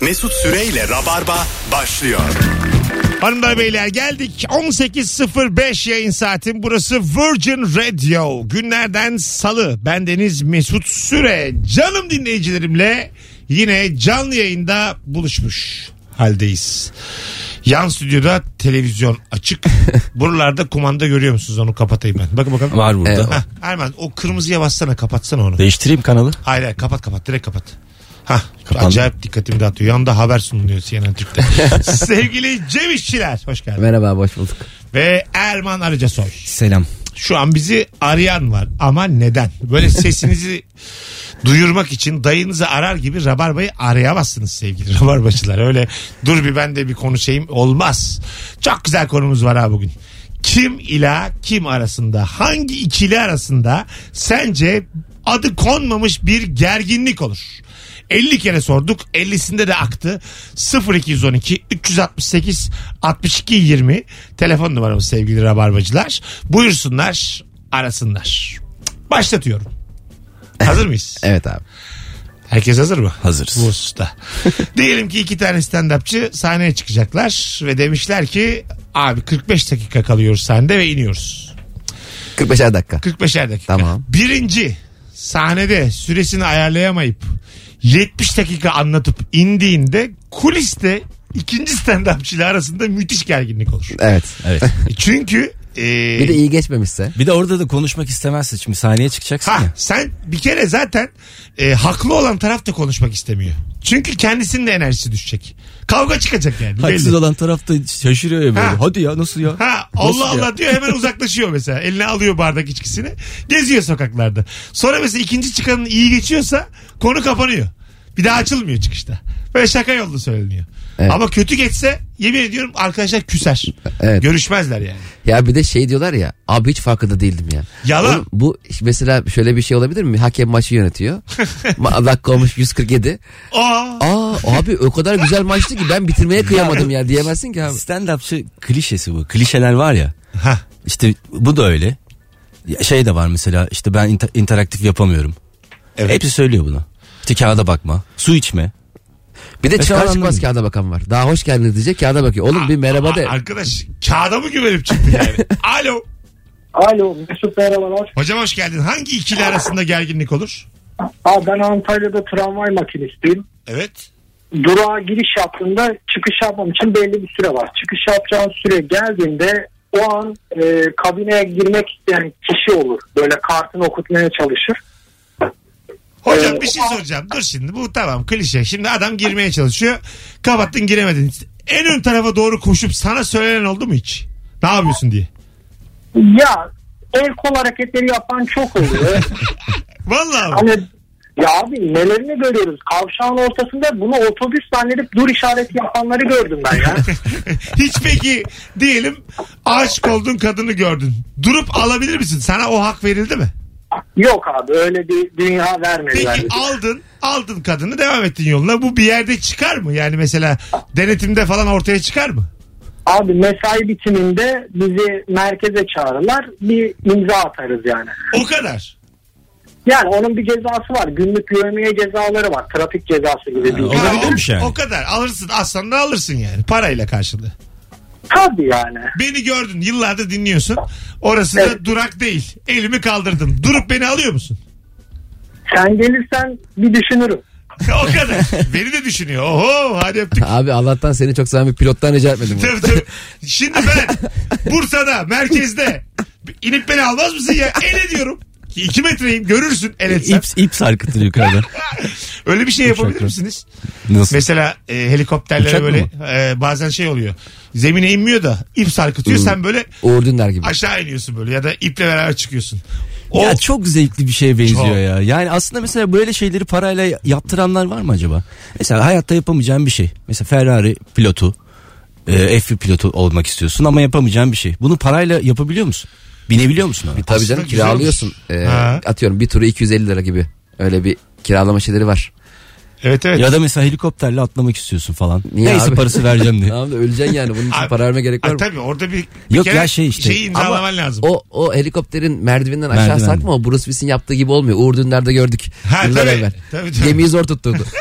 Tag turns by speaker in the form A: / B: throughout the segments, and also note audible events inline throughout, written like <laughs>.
A: Mesut Süreyle Rabarba başlıyor.
B: Hanımlar beyler geldik 18.05 yayın saatin burası Virgin Radio günlerden salı ben Deniz Mesut Süre canım dinleyicilerimle yine canlı yayında buluşmuş haldeyiz. Yan stüdyoda televizyon
C: <laughs>
B: açık. Buralarda kumanda görüyor musunuz onu kapatayım ben. Bakın bakalım.
C: Var burada.
D: Evet.
B: Hah, Erman o kırmızıya bassana kapatsana onu.
C: Değiştireyim kanalı.
B: Hayır hayır kapat kapat direkt kapat. Hah,
C: Kapandı.
B: acayip dikkatimi dağıtıyor. Yanında haber sunuluyor
C: <laughs>
B: CNN Türk'te. Sevgili Cem İşçiler hoş geldin.
D: Merhaba boş bulduk.
B: Ve Erman Arıcasoy.
C: Selam.
B: Şu an bizi arayan var ama neden? Böyle sesinizi duyurmak için dayınızı arar gibi Rabarba'yı arayamazsınız sevgili <laughs> Rabarbacılar. Öyle dur bir ben de bir konuşayım olmaz. Çok güzel konumuz var ha bugün. Kim ila kim arasında hangi ikili arasında sence adı konmamış bir gerginlik olur? 50 kere sorduk. 50'sinde de aktı. 0212 368 62 20 telefon numaramız sevgili rabarbacılar. Buyursunlar, arasınlar. Başlatıyorum. Hazır mıyız?
D: Evet abi.
B: Herkes hazır mı?
C: Hazırız.
B: Bu hususta.
D: <laughs>
B: Diyelim ki iki tane stand-upçı sahneye çıkacaklar ve demişler ki abi 45 dakika kalıyoruz sahnede ve iniyoruz.
D: 45'er dakika.
B: 45'er dakika.
D: Tamam.
B: Birinci sahnede süresini ayarlayamayıp 70 dakika anlatıp indiğinde kuliste ikinci stand-upçıyla arasında müthiş
D: <laughs>
B: gerginlik olur.
D: Evet.
C: Evet.
B: Çünkü e,
D: Bir de iyi geçmemişse.
C: Bir de orada da konuşmak istemezsin. Şimdi sahneye çıkacaksın
B: Ha
C: ya.
B: sen bir kere zaten e, haklı olan taraf da konuşmak istemiyor. Çünkü kendisinin de enerjisi düşecek. Kavga çıkacak yani.
C: Haksız
B: belli.
C: olan tarafta şaşırıyor ya böyle.
B: Ha.
C: Hadi ya nasıl ya?
B: Ha
C: Nasıl
B: Allah
C: ya?
B: Allah diyor hemen uzaklaşıyor mesela. Eline alıyor bardak içkisini. Geziyor sokaklarda. Sonra mesela ikinci çıkanın iyi geçiyorsa konu kapanıyor. Bir daha açılmıyor çıkışta. Böyle şaka yollu söyleniyor.
D: Evet.
B: Ama kötü geçse yemin ediyorum arkadaşlar küser.
D: Evet.
B: Görüşmezler yani.
D: Ya bir de şey diyorlar ya. Abi hiç farkında değildim ya.
B: Yalan.
D: Oğlum bu mesela şöyle bir şey olabilir mi? Hakem maçı
B: <laughs>
D: yönetiyor. Ma- dakika olmuş 147.
B: Aa,
D: Aa abi o kadar güzel maçtı ki ben bitirmeye kıyamadım ya diyemezsin ki abi.
C: Stand-upçı klişesi bu. Klişeler var ya.
B: Ha.
C: İşte bu da öyle. Ya Şey de var mesela işte ben inter- interaktif yapamıyorum.
B: Evet.
C: Hepsi söylüyor bunu. İşte kağıda bakma. Su içme.
D: Bir de
C: Mesela
D: çıkar
C: anlamadım.
D: çıkmaz E, kağıda bakan var. Daha hoş geldiniz diyecek kağıda bakıyor. Oğlum bir merhaba de.
B: Aa, Arkadaş kağıda mı güvenip
D: <laughs>
B: çıktı yani? Alo.
E: Alo Mesut merhabalar.
B: Hocam hoş geldin. Hangi ikili arasında gerginlik olur?
E: Aa, ben Antalya'da tramvay makinistiyim.
B: Evet.
E: Durağa giriş yaptığımda çıkış yapmam için belli bir süre var. Çıkış yapacağım süre geldiğinde o an e, kabineye girmek isteyen kişi olur. Böyle kartını okutmaya çalışır.
B: Hocam
E: Ee,
B: bir şey soracağım. Dur şimdi bu tamam klişe. Şimdi adam girmeye çalışıyor. Kapattın giremedin. En ön tarafa doğru koşup sana söylenen oldu mu hiç? Ne yapıyorsun diye.
E: Ya el kol hareketleri yapan çok oluyor.
B: Vallahi ama.
E: hani ya abi nelerini görüyoruz. Kavşağın ortasında bunu otobüs zannedip dur işareti yapanları gördüm ben ya.
B: <laughs> hiç peki diyelim aşık olduğun kadını gördün. Durup alabilir misin? Sana o hak verildi mi?
E: Yok abi öyle bir dünya vermediler.
B: Peki
E: bize.
B: aldın aldın kadını devam ettin yoluna. Bu bir yerde çıkar mı? Yani mesela denetimde falan ortaya çıkar mı?
E: Abi mesai bitiminde bizi merkeze çağırırlar. Bir imza atarız yani.
B: O kadar.
E: Yani onun bir cezası var. Günlük yövmeye cezaları var. Trafik cezası gibi bir
C: Ha,
E: şey.
B: Tamam,
C: Olabilirmiş yani.
B: O kadar. Alırsın. Aslan da alırsın yani. Parayla karşılığı.
E: Tabii yani.
B: Beni gördün yıllardır dinliyorsun. Orası da
E: Evet.
B: durak değil. Elimi kaldırdım. Durup beni alıyor musun? <laughs>
E: Sen gelirsen bir düşünürüm.
B: o kadar. beni de düşünüyor. Oho
C: <laughs>
B: hadi öptük.
D: Abi Allah'tan seni çok seven bir pilottan rica etmedim. bunu.
B: Tabii, tabii. Şimdi ben Bursa'da merkezde inip beni almaz mısın ya? El ediyorum. Ki iki metreyim görürsün el etsem.
C: İp, ip sarkıtır yukarıdan.
B: <laughs> Öyle bir şey yapabilir
C: Uçakla.
B: misiniz?
C: Nasıl?
B: Mesela e, helikopterlere
C: Uçak mı
B: böyle e, bazen şey oluyor. Zemine inmiyor da ip sarkıtıyor.
C: Hmm.
B: Sen böyle
D: Uğur Dündar gibi.
B: aşağı iniyorsun böyle ya da iple beraber çıkıyorsun. O
C: Ya çok zevkli bir şeye benziyor
B: Çok.
C: ya. Yani aslında mesela böyle şeyleri parayla yaptıranlar var mı acaba? Mesela hayatta yapamayacağın bir şey. Mesela Ferrari pilotu, e, F1 pilotu olmak istiyorsun ama yapamayacağın bir şey. Bunu parayla yapabiliyor musun? Binebiliyor musun ona?
D: Tabii
B: Aslında
D: canım
B: güzelmiş.
D: kiralıyorsun. Ee,
B: Ha.
D: atıyorum bir turu 250 lira gibi. Öyle bir kiralama şeyleri var.
B: evet evet.
C: Ya da mesela helikopterle atlamak istiyorsun falan.
D: Niye
C: Neyse
D: abi?
C: parası vereceğim diye.
D: <laughs> Tamam da öleceksin yani. Bunun için
B: Abi-
D: para vermeye gerek var
B: Ay,
D: mı?
B: tabii orada bir, bir
C: Yok
B: kere
C: ya şey işte.
B: Şeyi imzalaman lazım.
D: O, o helikopterin merdivenden aşağı
C: Merdiven.
D: sarkma o Bruce Willis'in yaptığı gibi olmuyor. Uğur Dündar'da gördük.
B: Ha,
D: Yıllar
B: tabii,
D: evvel.
B: <laughs> tabii, tabii.
D: Gemiyi zor tutturdu.
B: <laughs>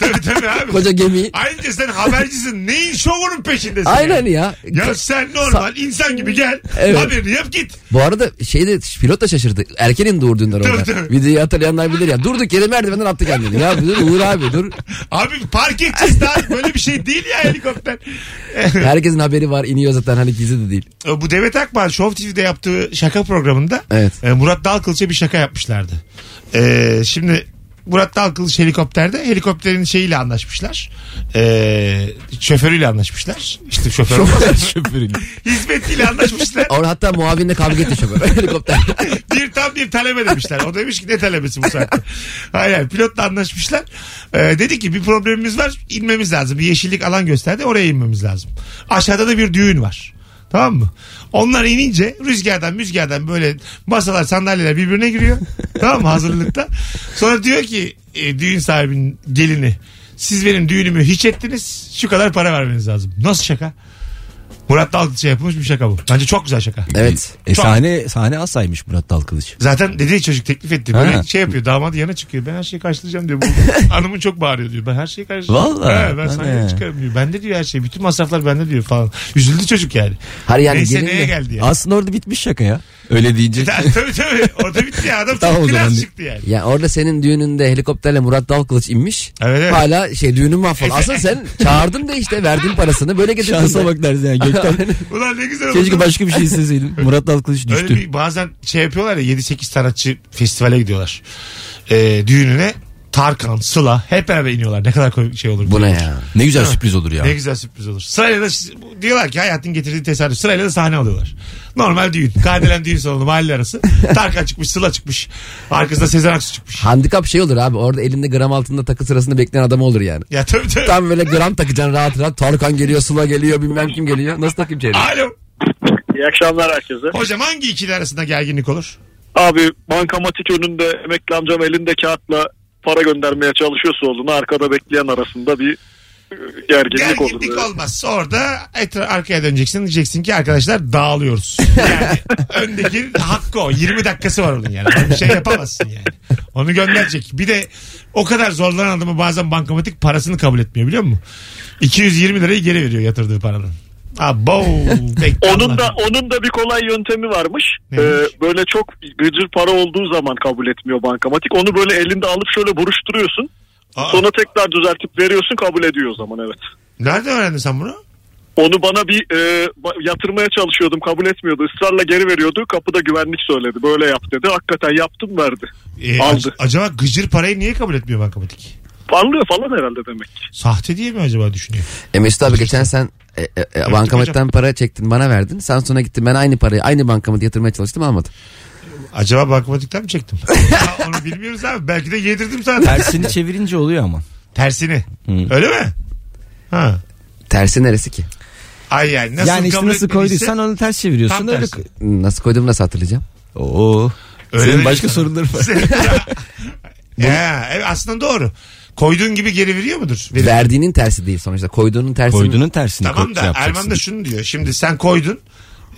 B: tabii tabii abi.
D: koca gemiyi.
B: Ayrıca sen habercisin. Neyin şovunun peşindesin?
D: Aynen
B: yani?
D: ya.
B: Ya sen normal insan gibi gel.
D: Evet.
B: Haberini yap git.
D: Bu arada şeyde pilot da şaşırdı. Erken indi Uğur Dündar
B: tabii.
D: orada. Videoyu hatırlayanlar bilir ya. Durduk yere merdivenden attı kendini. Ya dur Uğur abi dur.
B: Abi park
D: <laughs>
B: edeceğiz daha böyle bir şey değil ya helikopter. <laughs>
D: Herkesin haberi var iniyor zaten hani gizli de değil.
B: E, bu Demet Akbağ Show TV'de yaptığı şaka programında
D: Evet.
B: e, Murat Dalkılıç'a bir şaka yapmışlardı. E, şimdi Murat Dalkılıç helikopterde helikopterin şeyiyle anlaşmışlar. E, şoförüyle anlaşmışlar. İşte şoför <laughs> hizmetiyle anlaşmışlar.
D: Orada hatta muavinle kavga etti şoför. <laughs> Helikopter.
B: bir tam bir talebe demişler. O demiş ki ne talebesi bu saatte? Hayır hayır, pilotla anlaşmışlar. Ee, dedi ki bir problemimiz var inmemiz lazım. Bir yeşillik alan gösterdi oraya inmemiz lazım. Aşağıda da bir düğün var. Tamam mı? Onlar inince rüzgardan müzgardan böyle masalar sandalyeler birbirine giriyor. tamam mı hazırlıkta? Sonra diyor ki e, düğün sahibinin gelini siz benim düğünümü hiç ettiniz şu kadar para vermeniz lazım. Nasıl şaka? Murat Dalgıç'a yapılmış bir şaka bu. Bence çok güzel şaka.
D: Evet.
C: E,
B: Çok-
C: sahne sahne asaymış Murat Dalkılıç.
B: Zaten dedi ya çocuk teklif etti. Böyle
C: Ha.
B: şey yapıyor. Damadı yana çıkıyor. Ben her şeyi
C: <laughs>
B: karşılayacağım diyor. Bu hanımın çok bağırıyor diyor. Ben her şeyi karşılayacağım.
C: Vallahi.
B: He, ben sahneye
C: Hani.
B: çıkarım diyor. Bende diyor her şey. Bütün masraflar bende diyor falan. Üzüldü çocuk yani.
D: Hayır yani
B: Neyse
D: gelin
B: neye
D: de-
B: geldi yani.
C: Aslında orada bitmiş şaka ya. Öyle deyince.
B: Ta- <laughs> tabii tabii. Orada bitti ya. Adam
D: <laughs> Tamam o
B: çok
D: zaman
B: biraz
D: diyor.
B: çıktı yani.
D: Ya orada senin düğününde helikopterle Murat Dalkılıç inmiş.
B: Evet, evet.
D: Hala şey düğünün mahvoldu. Aslında sen çağırdın da işte verdin parasını böyle getirdin.
C: <laughs> Şansa
D: de. <laughs>
C: bak dersin yani. Gökten.
B: <laughs> Ulan ne güzel
C: Keşke
B: oldu.
C: başka bir şey isteseydim. Murat Dalkılıç
B: Öyle
C: düştü.
B: bir bazen şey yapıyorlar ya 7-8 sanatçı festivale gidiyorlar. Ee, düğününe Tarkan, Sıla hep beraber iniyorlar. Ne kadar komik şey olur.
D: Bu ne ya?
C: Ne güzel sürpriz olur ya.
B: Ne güzel sürpriz olur. Sırayla da diyorlar ki hayatın getirdiği tesadüf. Sırayla da sahne alıyorlar. Normal düğün. Kardelen düğün salonu mahalle arası. Tarkan çıkmış, Sıla çıkmış. Arkasında Sezen Aksu çıkmış.
D: Handikap şey olur abi orada elinde gram altında takı sırasında bekleyen adam olur yani.
B: Ya tabii tabii.
D: Tam böyle gram takacaksın rahat rahat. Tarkan geliyor, Sıla geliyor, bilmem kim geliyor. Nasıl takayım şeyleri?
B: Alo.
F: İyi akşamlar herkese.
B: Hocam hangi ikili arasında gerginlik olur?
F: Abi bankamatik önünde emekli amcam elinde kağıtla para göndermeye çalışıyorsa oğluna arkada bekleyen arasında bir e, gerginlik olur.
B: Gerginlik olmaz. Orada etra- arkaya döneceksin. Diyeceksin ki arkadaşlar
F: <laughs>
B: dağılıyoruz. Yani öndeki hakkı o. 20 dakikası var onun yani. Bir şey yapamazsın yani. Onu gönderecek. Bir de o kadar zorlanan adamı bazen bankamatik parasını kabul etmiyor biliyor musun? 220 lirayı geri veriyor yatırdığı paradan. Abo. bekle
F: Onun da
B: Allah'ım.
F: onun da bir kolay yöntemi varmış. Ee,
B: Neymiş?
F: böyle çok gıcır para olduğu zaman kabul etmiyor bankamatik. Onu böyle elinde alıp şöyle buruşturuyorsun.
B: Aa,
F: Sonra tekrar düzeltip veriyorsun kabul ediyor o zaman evet.
B: Nereden öğrendin sen bunu?
F: Onu bana bir e, ba- yatırmaya çalışıyordum kabul etmiyordu. Israrla geri veriyordu. Kapıda güvenlik söyledi. Böyle yap dedi. Hakikaten yaptım verdi.
B: Ee,
F: Aldı.
B: ac- acaba gıcır parayı niye kabul etmiyor bankamatik?
F: Parlıyor falan herhalde demek ki.
B: Sahte diye mi acaba düşünüyor?
D: E Mesut abi geçen sen e, e, e, bankamatikten para çektin bana verdin. Sen sonra gittin ben aynı parayı aynı bankamata yatırmaya çalıştım almadım.
B: Acaba bankamatikten mi
F: <laughs>
B: çektim? Ya onu bilmiyoruz abi. Belki de yedirdim zaten.
C: Tersini çevirince oluyor ama.
B: Tersini.
C: Hmm.
B: Öyle mi? Ha.
D: Tersi neresi ki?
B: Ay yani nasıl
C: yani işte
B: kabul
C: nasıl
B: etmediyse-
C: koyduysan onu ters çeviriyorsun.
B: Tam
C: öyle-
B: tersi.
D: Nasıl koyduğumu nasıl hatırlayacağım?
C: Oo.
B: Öyle
C: Senin
B: mi
C: başka
B: sana?
C: sorunların <laughs> var.
B: ya, evet, aslında doğru. Koyduğun gibi geri veriyor mudur? Verir.
D: Verdiğinin tersi değil sonuçta. Koyduğunun tersi.
C: Koyduğunun tersini
B: Tamam
C: ko-
B: da
C: yapacaksın.
B: Erman da şunu diyor. Şimdi sen koydun.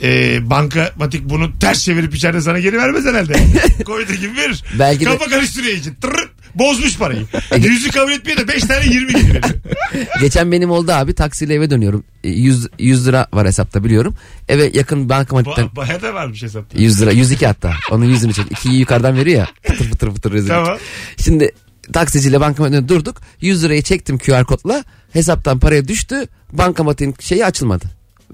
B: E, bankamatik bunu ters çevirip içeride sana geri vermez herhalde.
C: <laughs>
B: Koyduğu gibi verir.
D: Belki de-
B: Kafa karıştırıyor için. Tırırt, bozmuş parayı.
C: E
B: Yüzü kabul etmiyor da 5 tane 20
C: <laughs>
B: gibi veriyor.
D: Geçen benim oldu abi taksiyle eve dönüyorum. 100, 100 lira var hesapta biliyorum. Eve yakın bankamatikten
B: Ba- Baya da varmış hesapta.
D: 100 lira 102 hatta. Onun yüzünü çek. 2'yi yukarıdan veriyor ya. Fıtır fıtır fıtır rezil.
B: Tamam.
D: Şimdi taksiciyle bankamatın önünde durduk. 100 lirayı çektim QR kodla. Hesaptan paraya düştü. Bankamatin şeyi açılmadı.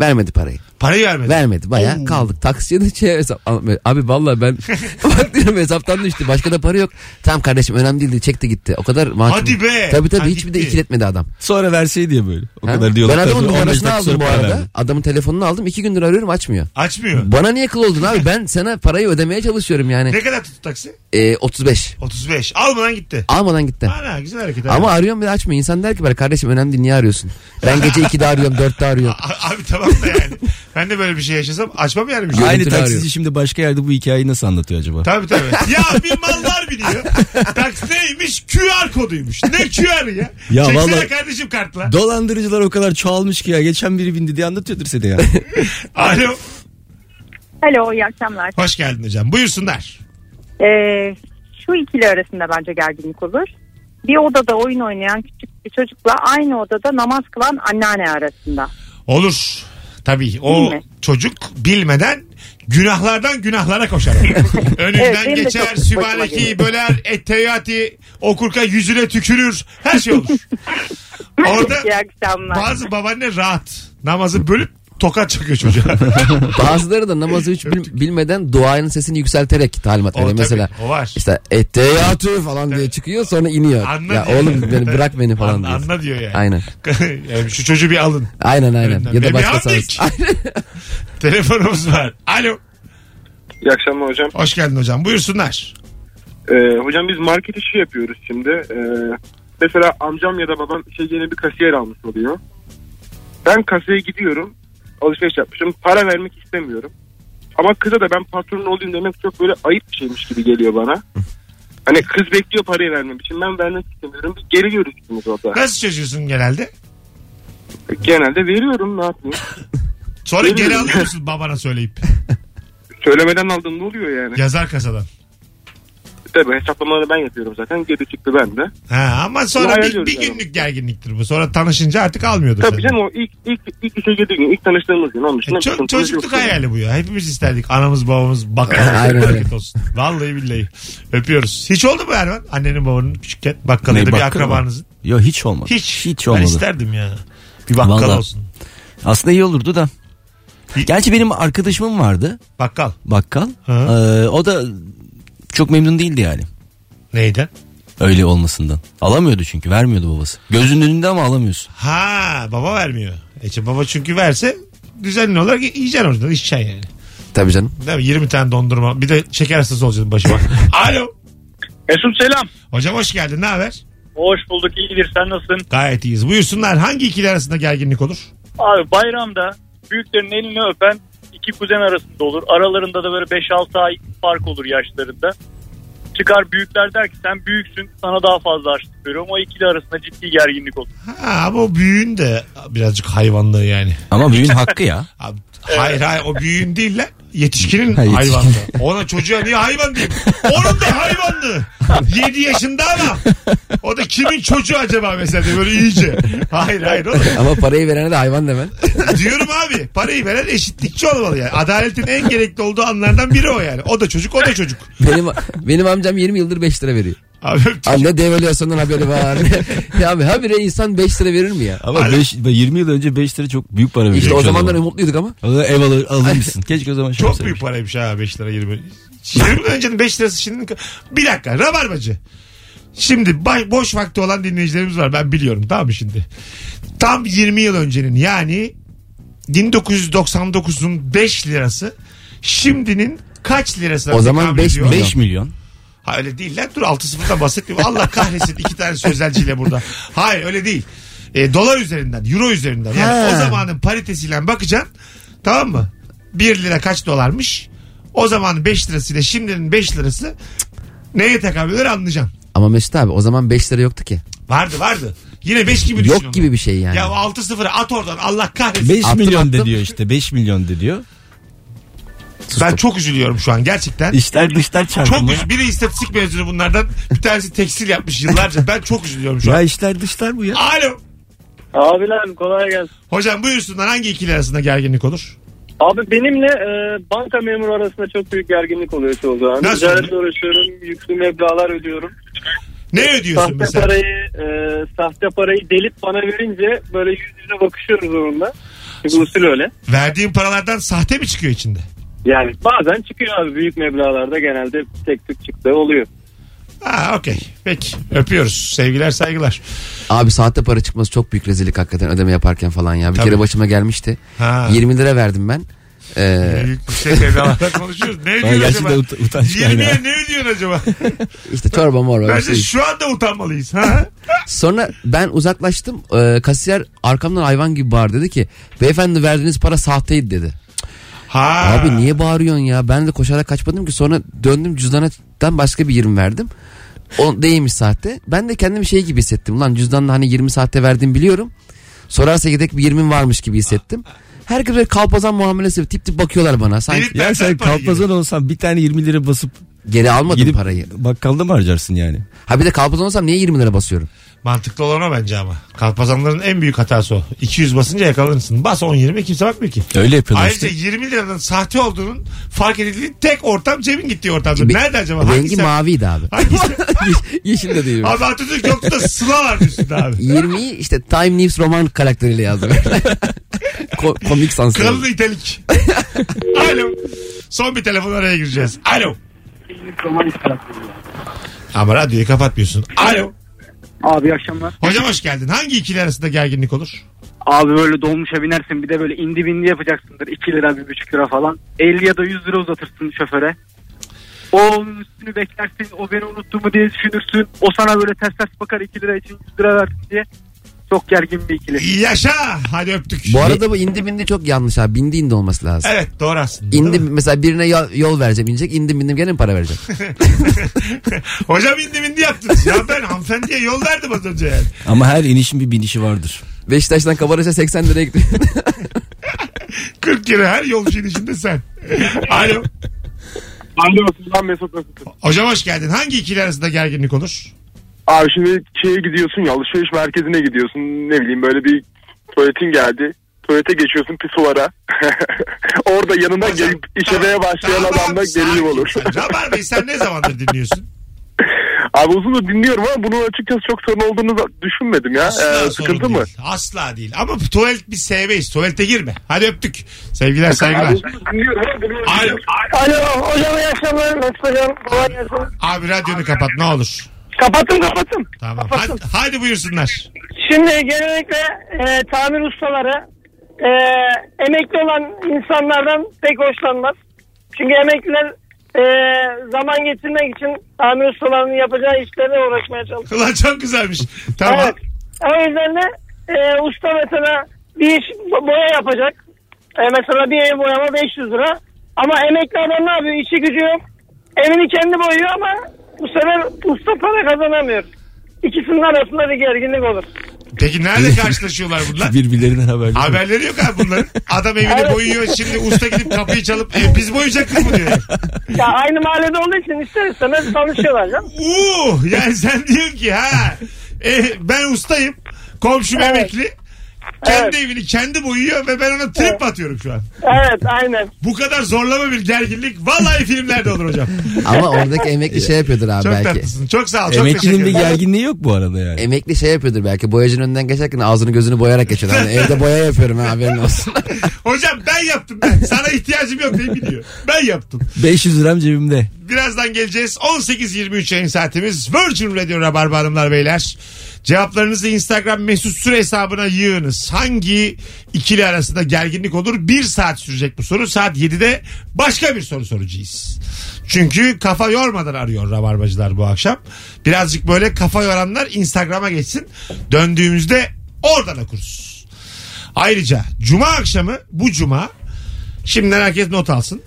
D: Vermedi parayı.
B: Parayı vermedi.
D: Vermedi bayağı kaldık. Taksiciye de şey hesap almıyor. Abi vallahi
B: <laughs>
D: ben bak diyorum hesaptan düştü. Başka da para yok. Tamam kardeşim önemli değildi. Çekti gitti. O kadar mahcup.
B: Hadi be.
D: Tabii tabii
B: Ha,
D: hiçbir de
B: gitti.
D: ikiletmedi adam.
C: Sonra verseydi diye böyle. O
D: Ha?
C: kadar diyorlar.
D: Ben adamın
C: Tabii, 15
D: numarasını
C: dakika
D: aldım bu
C: sonra
D: arada.
C: verdi.
D: Adamın telefonunu aldım. iki gündür arıyorum açmıyor.
B: Açmıyor.
D: Bana niye kıl oldun abi? Ben sana parayı ödemeye çalışıyorum yani.
B: Ne kadar tuttu taksi?
D: Ee, 35.
B: 35. Almadan gitti.
D: Almadan gitti.
B: Ana güzel hareket.
D: Ama
B: abi.
D: arıyorum bile açmıyor. İnsan der ki bana kardeşim önemli değil niye arıyorsun? Ben gece 2'de arıyorum 4'te
B: <laughs>
D: arıyorum.
B: A- abi tamam da yani. ben de böyle bir şey yaşasam açmam yani. Bir şey.
C: Aynı
D: Görüntülü
C: taksici
D: arıyor.
C: şimdi başka yerde bu hikayeyi nasıl anlatıyor acaba?
B: Tabii tabii. Ya bir mallar biliyor. Taksi neymiş? QR koduymuş. Ne QR ya?
C: Ya
B: Çeksene
C: vallahi-
B: kardeşim kartla.
C: Dolandırıcılar o kadar çoğalmış ki ya. Geçen biri bindi diye anlatıyordur seni <laughs> ya.
B: Alo.
G: Alo iyi akşamlar.
B: Hoş geldin hocam. Buyursunlar.
G: Ee, şu ikili arasında bence gerginlik olur. Bir odada oyun oynayan küçük bir çocukla aynı odada namaz kılan anneanne arasında.
B: Olur. Tabii o
G: Değil mi?
B: çocuk bilmeden günahlardan
G: <laughs>
B: günahlara koşar.
G: Evet,
B: Önünden
G: benim de
B: geçer,
G: çok başıma
B: sübhanekiyi
G: geliyor.
B: böler, etteyati, okurka yüzüne tükürür. Her
G: <laughs>
B: şey olur. Orada
G: İyi akşamlar.
B: bazı babaanne rahat. Namazı bölüp tokat
D: <laughs>
B: çakıyor çocuğa.
D: Bazıları da namazı hiç bil- bilmeden duanın sesini yükselterek talimat
B: O
D: veriyor.
B: tabii,
D: Mesela
B: o var.
D: işte etteyatü falan diye çıkıyor sonra iniyor.
B: Anla
D: ya
B: diyor.
D: oğlum beni bırak
B: <laughs>
D: beni falan
B: Anla,
D: diyor.
B: anla diyor yani.
D: Aynen.
B: <laughs> Yani şu çocuğu bir alın.
D: Aynen aynen.
B: Önden.
D: Ya
B: Ve
D: da başka
B: Mihambik.
D: sarısı. Aynen.
B: Telefonumuz var. Alo.
H: İyi akşamlar hocam.
B: Hoş geldin hocam. Buyursunlar.
H: Ee, hocam biz market işi yapıyoruz şimdi. Ee, mesela amcam ya da babam şey yeni bir kasiyer almış oluyor. Ben kasaya gidiyorum. Alışveriş yapmışım. Para vermek istemiyorum. Ama kıza da ben patronun olayım demek çok böyle ayıp bir şeymiş gibi geliyor bana. Hani kız bekliyor parayı vermem için. Ben vermek istemiyorum. Biz geriliyoruz ikimiz orada.
B: Nasıl çözüyorsun genelde?
H: Genelde veriyorum ne yapayım.
B: Sonra
H: Veririm.
B: geri alıyor musun babana söyleyip?
H: Söylemeden aldım ne oluyor yani?
B: Yazar kasadan.
H: Tabii hesaplamaları ben yapıyorum zaten. Geri çıktı ben de.
B: Ha, ama sonra
H: Kolay
B: bir,
H: diyoruz
B: bir
H: yani.
B: günlük gerginliktir bu. Sonra tanışınca artık almıyordur.
H: Tabii
B: senden.
H: canım o ilk, ilk, ilk işe girdiği gün, ilk tanıştığımız gün.
B: E,
H: Onun dışında bir
B: ço-
H: sıkıntımız
B: çocukluk
H: yok.
B: hayali bu ya. Hepimiz isterdik. Anamız babamız
D: Aynen
B: bakkal
D: öyle.
B: market olsun. Vallahi billahi. Öpüyoruz. Hiç oldu mu Erman? Annenin babanın küçükken bakkal ya da
C: Ne,
B: bir
C: bakkal mı?
B: akrabanızın.
C: Yo hiç olmadı.
B: Hiç.
C: Hiç
B: Ben
C: olmadı.
B: isterdim ya. Bir bakkal
C: Vallahi.
B: olsun.
C: Aslında iyi olurdu da.
B: Bir-
C: Gerçi benim arkadaşımım vardı
B: Bakkal.
C: bakkal.
B: Hı.
C: Ee, o da çok memnun değildi yani.
B: Neyden?
C: Öyle olmasından. Alamıyordu çünkü vermiyordu babası. Gözünün önünde ama alamıyorsun.
B: Ha baba vermiyor. E şimdi baba çünkü verse düzenli olarak yiyeceksin orada. içeceksin yani.
D: <laughs> Tabii canım.
B: Değil mi? 20 tane dondurma. Bir de şeker hastası
C: <laughs>
B: olacaksın başıma. Alo.
I: Mesut selam.
B: Hocam hoş geldin. Ne haber?
I: Hoş bulduk iyidir sen nasılsın?
B: Gayet iyiyiz. Buyursunlar. Hangi ikili arasında gerginlik olur?
I: Abi bayramda büyüklerin elini öpen iki kuzen arasında olur. Aralarında da böyle 5-6 ay fark olur yaşlarında. Çıkar büyükler der ki sen büyüksün sana daha fazla harçlık veriyorum. O ikili arasında ciddi gerginlik olur.
B: Ha ama o büyüğün de birazcık hayvanlığı yani.
C: Ama büyüğün hakkı ya.
B: Abi, hayır hayır o büyüğün değil lan. Yetişkinin
C: Ha, yetişkin.
B: hayvanlığı. Ona çocuğa niye hayvan diyeyim? Onun da hayvanlığı. 7 yaşında ama. O da kimin çocuğu acaba mesela diye böyle iyice. Hayır hayır oğlum.
D: Ama parayı verene de hayvan demen.
B: Diyorum abi parayı veren eşitlikçi olmalı yani. Adaletin en gerekli olduğu anlardan biri o yani. O da çocuk o da çocuk.
D: Benim benim amcam 20 yıldır 5 lira veriyor.
B: Abi öptük.
D: Anne devalüasyondan haberi <laughs> var. ya abi habire insan 5 lira verir mi ya?
C: <laughs> Ama 20 yıl önce 5 lira çok büyük para
D: İşte o zamanlar umutluyduk ama.
C: ev alır, <laughs> alırmışsın. Keşke o zaman şey
B: Çok
C: yapsaymış.
B: büyük paraymış ha 5 lira 20. 20 lira öncenin 5 lirası şimdi. Bir dakika rabarbacı. Şimdi bay- boş vakti olan dinleyicilerimiz var ben biliyorum tamam mı şimdi? Tam 20 yıl öncenin yani 1999'un 5 lirası şimdinin kaç lirası?
D: O zaman 5 milyon.
C: 5 milyon.
B: Ha öyle değil lan dur 6-0'dan bahsetmiyorum. Allah kahretsin iki tane sözelciyle burada. Hayır öyle değil. E, dolar üzerinden, euro üzerinden. Yani
C: Ha.
B: o zamanın paritesiyle bakacaksın. Tamam mı? 1 lira kaç dolarmış? O zaman 5 lirasıyla şimdinin 5 lirası neye tekabül eder anlayacaksın.
D: Ama Mesut abi o zaman 5 lira yoktu ki.
B: Vardı vardı. Yine 5 gibi düşün. onu.
D: Yok gibi bir şey yani.
B: Ya 6-0 at oradan Allah kahretsin.
C: 5
D: Attım,
C: milyon de
D: attım.
C: diyor işte. 5 milyon de diyor.
B: ben çok üzülüyorum şu an gerçekten.
C: İşler dışlar
B: Çok
C: çarpımı.
B: üz- Biri istatistik mezunu bunlardan. Bir tanesi tekstil yapmış yıllarca. Ben çok üzülüyorum şu
C: Ya
B: an.
C: işler dışlar bu ya.
B: Alo.
I: Abiler kolay gelsin.
B: Hocam buyursunlar hangi ikili arasında gerginlik olur?
I: Abi benimle e, banka memuru arasında çok büyük gerginlik oluyor çoğu zaman.
B: Nasıl Ticaretle oluyor?
I: uğraşıyorum, yüklü meblalar ödüyorum.
B: Ne ödüyorsun
I: sahte
B: mesela?
I: parayı e, sahte parayı delip bana verince böyle yüz yüze bakışıyoruz onunla. Çünkü usul öyle.
B: Verdiğin paralardan sahte mi çıkıyor içinde?
I: Yani bazen çıkıyor abi büyük meblağlarda genelde tek tük çıktı oluyor.
B: Ha okey. Peki. Öpüyoruz. Sevgiler saygılar.
D: Abi saatte para çıkması çok büyük rezillik hakikaten ödeme yaparken falan ya. Bir
B: Tabii.
D: kere başıma gelmişti.
B: Ha.
D: 20 lira verdim ben. <laughs> Ee,
B: Büyük yüksek meblalarda konuşuyoruz. Ne
C: Ben
B: ödüyorsun
C: gerçekten
B: acaba?
C: ut- utanç
B: 20'ye
C: kaynağı.
B: ne ödüyorsun
C: <laughs>
B: acaba?
D: işte çorba morba. bir
B: Bence
D: şey.
B: şu anda utanmalıyız. Ha?
D: Sonra ben uzaklaştım. Ee, kasiyer arkamdan hayvan gibi bağırdı. Dedi ki beyefendi verdiğiniz para sahteydi dedi.
B: ha.
D: Abi niye bağırıyorsun ya? Ben de koşarak kaçmadım ki. Sonra döndüm cüzdanadan başka bir 20 verdim. O değilmiş sahte. Ben de kendimi şey gibi hissettim. Lan cüzdanla hani 20 sahte verdiğimi biliyorum. Sorarsa gidek bir 20 varmış gibi hissettim. Herkes böyle kalpazan muamelesi tip tip bakıyorlar bana. Sanki
B: Benim-
C: Ya sen kalpazan olsan bir tane 20 lira basıp
D: geri almadım
C: gidip
D: parayı.
C: bakkalda mı harcarsın yani?
D: Ha bir de kalpazan olsam niye 20 lira basıyorum?
B: Mantıklı olan o bence ama. Kalpazanların en büyük hatası o. 200 basınca yakalanırsın. Bas 10-20 kimse bakmıyor ki.
C: Öyle yapıyorlar
B: Ayrıca
C: işte.
B: 20 liranın sahte olduğunun fark edildiği tek ortam cebin gittiği ortamda.
D: Be-
B: Nerede acaba?
D: Rengi
B: Hangisi?
D: maviydi abi.
B: Hangisi?
D: Yeşil de değil.
B: Abi Atatürk yoktu da sıla vardı üstünde abi.
D: 20'yi işte Time News roman karakteriyle yazdım. Ko- komik sansür.
B: Kalın itelik. Alo. Son bir telefon araya gireceğiz. Alo. Ama radyoyu kapatmıyorsun. Alo.
J: Abi iyi akşamlar.
B: Hocam hoş geldin. Hangi ikili arasında gerginlik olur?
J: Abi böyle dolmuşa binersin bir de böyle indi bindi yapacaksındır. 2 lira 1,5 lira falan. 50 ya da 100 lira uzatırsın şoföre. O onun üstünü beklersin o beni unuttu mu diye düşünürsün. O sana böyle ters ters bakar 2 lira için 100 lira verdim diye. Çok gergin bir ikili.
B: Yaşa. Hadi öptük.
D: Bu arada bu indi bindi çok yanlış abi. Bindi indi olması lazım.
B: Evet doğru aslında. değil
D: İndim
B: mi?
D: mesela birine yol, yol vereceğim inecek. İndim bindim gene mi para vereceğim?
B: <laughs> Hocam indim indi yaptınız. Ya ben hanımefendiye yol verdim az önce yani.
C: Ama her inişin bir binişi vardır.
D: Beşiktaş'tan Kabaraş'a 80 liraya
B: <laughs>
D: gitti.
B: 40 lira her yolcu inişinde
H: <laughs>
B: sen. Alo.
H: Alo Suzan Mesut nasılsın?
B: Hocam hoş geldin. Hangi ikili arasında gerginlik olur?
H: Abi şimdi şeye gidiyorsun ya alışveriş merkezine gidiyorsun ne bileyim böyle bir tuvaletin geldi. Tuvalete geçiyorsun pisuvara. <laughs> Orada yanına
B: Hocam,
H: gelip işemeye başlayan
B: Tamam,
H: adamla
B: sakin
H: gerilim olur.
B: sen. Rabar Bey sen ne zamandır dinliyorsun?
H: <laughs> Abi uzun dinliyorum ama bunun açıkçası çok sorun olduğunu da düşünmedim ya.
B: Asla
H: <laughs> Ee,
B: sorun
H: sıkıntı
B: değil.
H: mı?
B: Asla değil. Ama tuvalet biz sevmeyiz. Tuvalete girme. Hadi öptük. Sevgiler saygılar. Alo.
E: Alo hocam iyi akşamlar. Nasıl hocam? Kolay gelsin.
B: Abi radyonu kapat ne olur.
E: Kapattım kapattım.
B: Tamam. Hadi, hadi buyursunlar. <laughs>
E: Şimdi genellikle e, tamir ustaları e, emekli olan insanlardan pek hoşlanmaz. Çünkü emekliler e, zaman geçirmek için tamir ustalarının yapacağı işlerle uğraşmaya çalışır.
B: Ulan çok güzelmiş. Tamam.
E: Evet. O yüzden de e, usta mesela bir iş bo- boya yapacak. E, mesela bir ev boyama 500 lira. Ama emekli adam ne yapıyor? İşi gücü yok. Evini kendi boyuyor ama bu sefer usta para kazanamıyor. İkisinin arasında bir gerginlik olur.
B: Peki
H: <laughs>
B: nerede karşılaşıyorlar bunlar?
C: Birbirlerinden haberleri. yok.
B: Haberleri yok abi bunların. Adam evini
E: Evet.
B: boyuyor şimdi usta gidip kapıyı çalıp "E, biz boyayacaktık mı diyor.
E: Ya aynı mahallede olduğu için ister istemez tanışıyorlar canım.
B: Uuu yani sen diyorsun ki ha e, ben ustayım komşum
E: Evet.
B: emekli kendi evini kendi boyuyor ve ben ona trip atıyorum şu an.
E: Evet aynen.
B: Bu kadar zorlama bir gerginlik vallahi filmlerde olur hocam.
D: Ama oradaki emekli şey yapıyordur abi
B: Çok
D: belki.
B: tatlısın. Çok sağ ol. Çok teşekkür
C: Emeklinin de
B: ederim.
C: gerginliği yok bu arada yani.
D: Emekli şey yapıyordur belki. Boyacının önünden geçerken ağzını gözünü boyarak geçiyor. Hani evde boya yapıyorum ha haberin
B: <laughs>
D: olsun.
B: Hocam ben yaptım ben. Sana ihtiyacım yok deyip gidiyor. Ben yaptım.
C: 500 liram cebimde.
B: Birazdan geleceğiz. 18.23 yayın saatimiz. Virgin Radio Rabarba Hanımlar Beyler. Cevaplarınızı Instagram mesut süre hesabına yığınız. Hangi ikili arasında gerginlik olur? Bir saat sürecek bu soru. Saat 7'de başka bir soru soracağız. Çünkü kafa yormadan arıyor Rabarbacılar bu akşam. Birazcık böyle kafa yoranlar Instagram'a geçsin. Döndüğümüzde oradan okuruz. Ayrıca cuma akşamı bu cuma şimdiden herkes not alsın.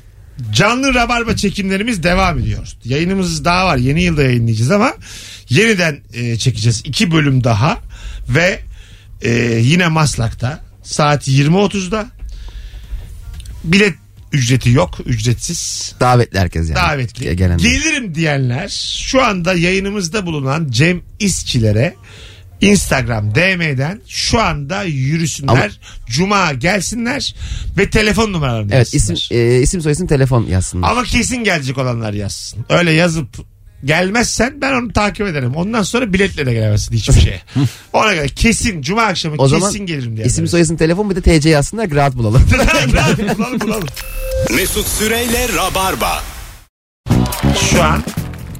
B: Canlı rabarba çekimlerimiz devam ediyor. Yayınımız daha var. Yeni yılda yayınlayacağız ama yeniden e, çekeceğiz. iki bölüm daha ve e, yine Maslak'ta saat 20.30'da bilet ücreti yok. Ücretsiz.
D: Davetli herkes yani.
B: Davetli.
D: Gelenler.
B: Gelirim diyenler şu anda yayınımızda bulunan Cem İşçilere Instagram DM'den şu anda yürüsünler.
D: Ama-
B: Cuma gelsinler ve telefon numaralarını
D: Evet
B: yazsınlar.
D: isim, e, isim soyisim telefon yazsınlar.
B: Ama kesin gelecek olanlar yazsın. Öyle yazıp gelmezsen ben onu takip ederim. Ondan sonra biletle de gelemezsin hiçbir
C: <laughs>
B: şeye. Ona göre kesin cuma akşamı
D: O
B: kesin
D: zaman
B: gelirim diye.
D: İsim
B: <laughs>
D: soyisim telefon bir de TC yazsınlar ki rahat bulalım.
B: bulalım bulalım.
A: Mesut Süreyle Rabarba.
B: Şu an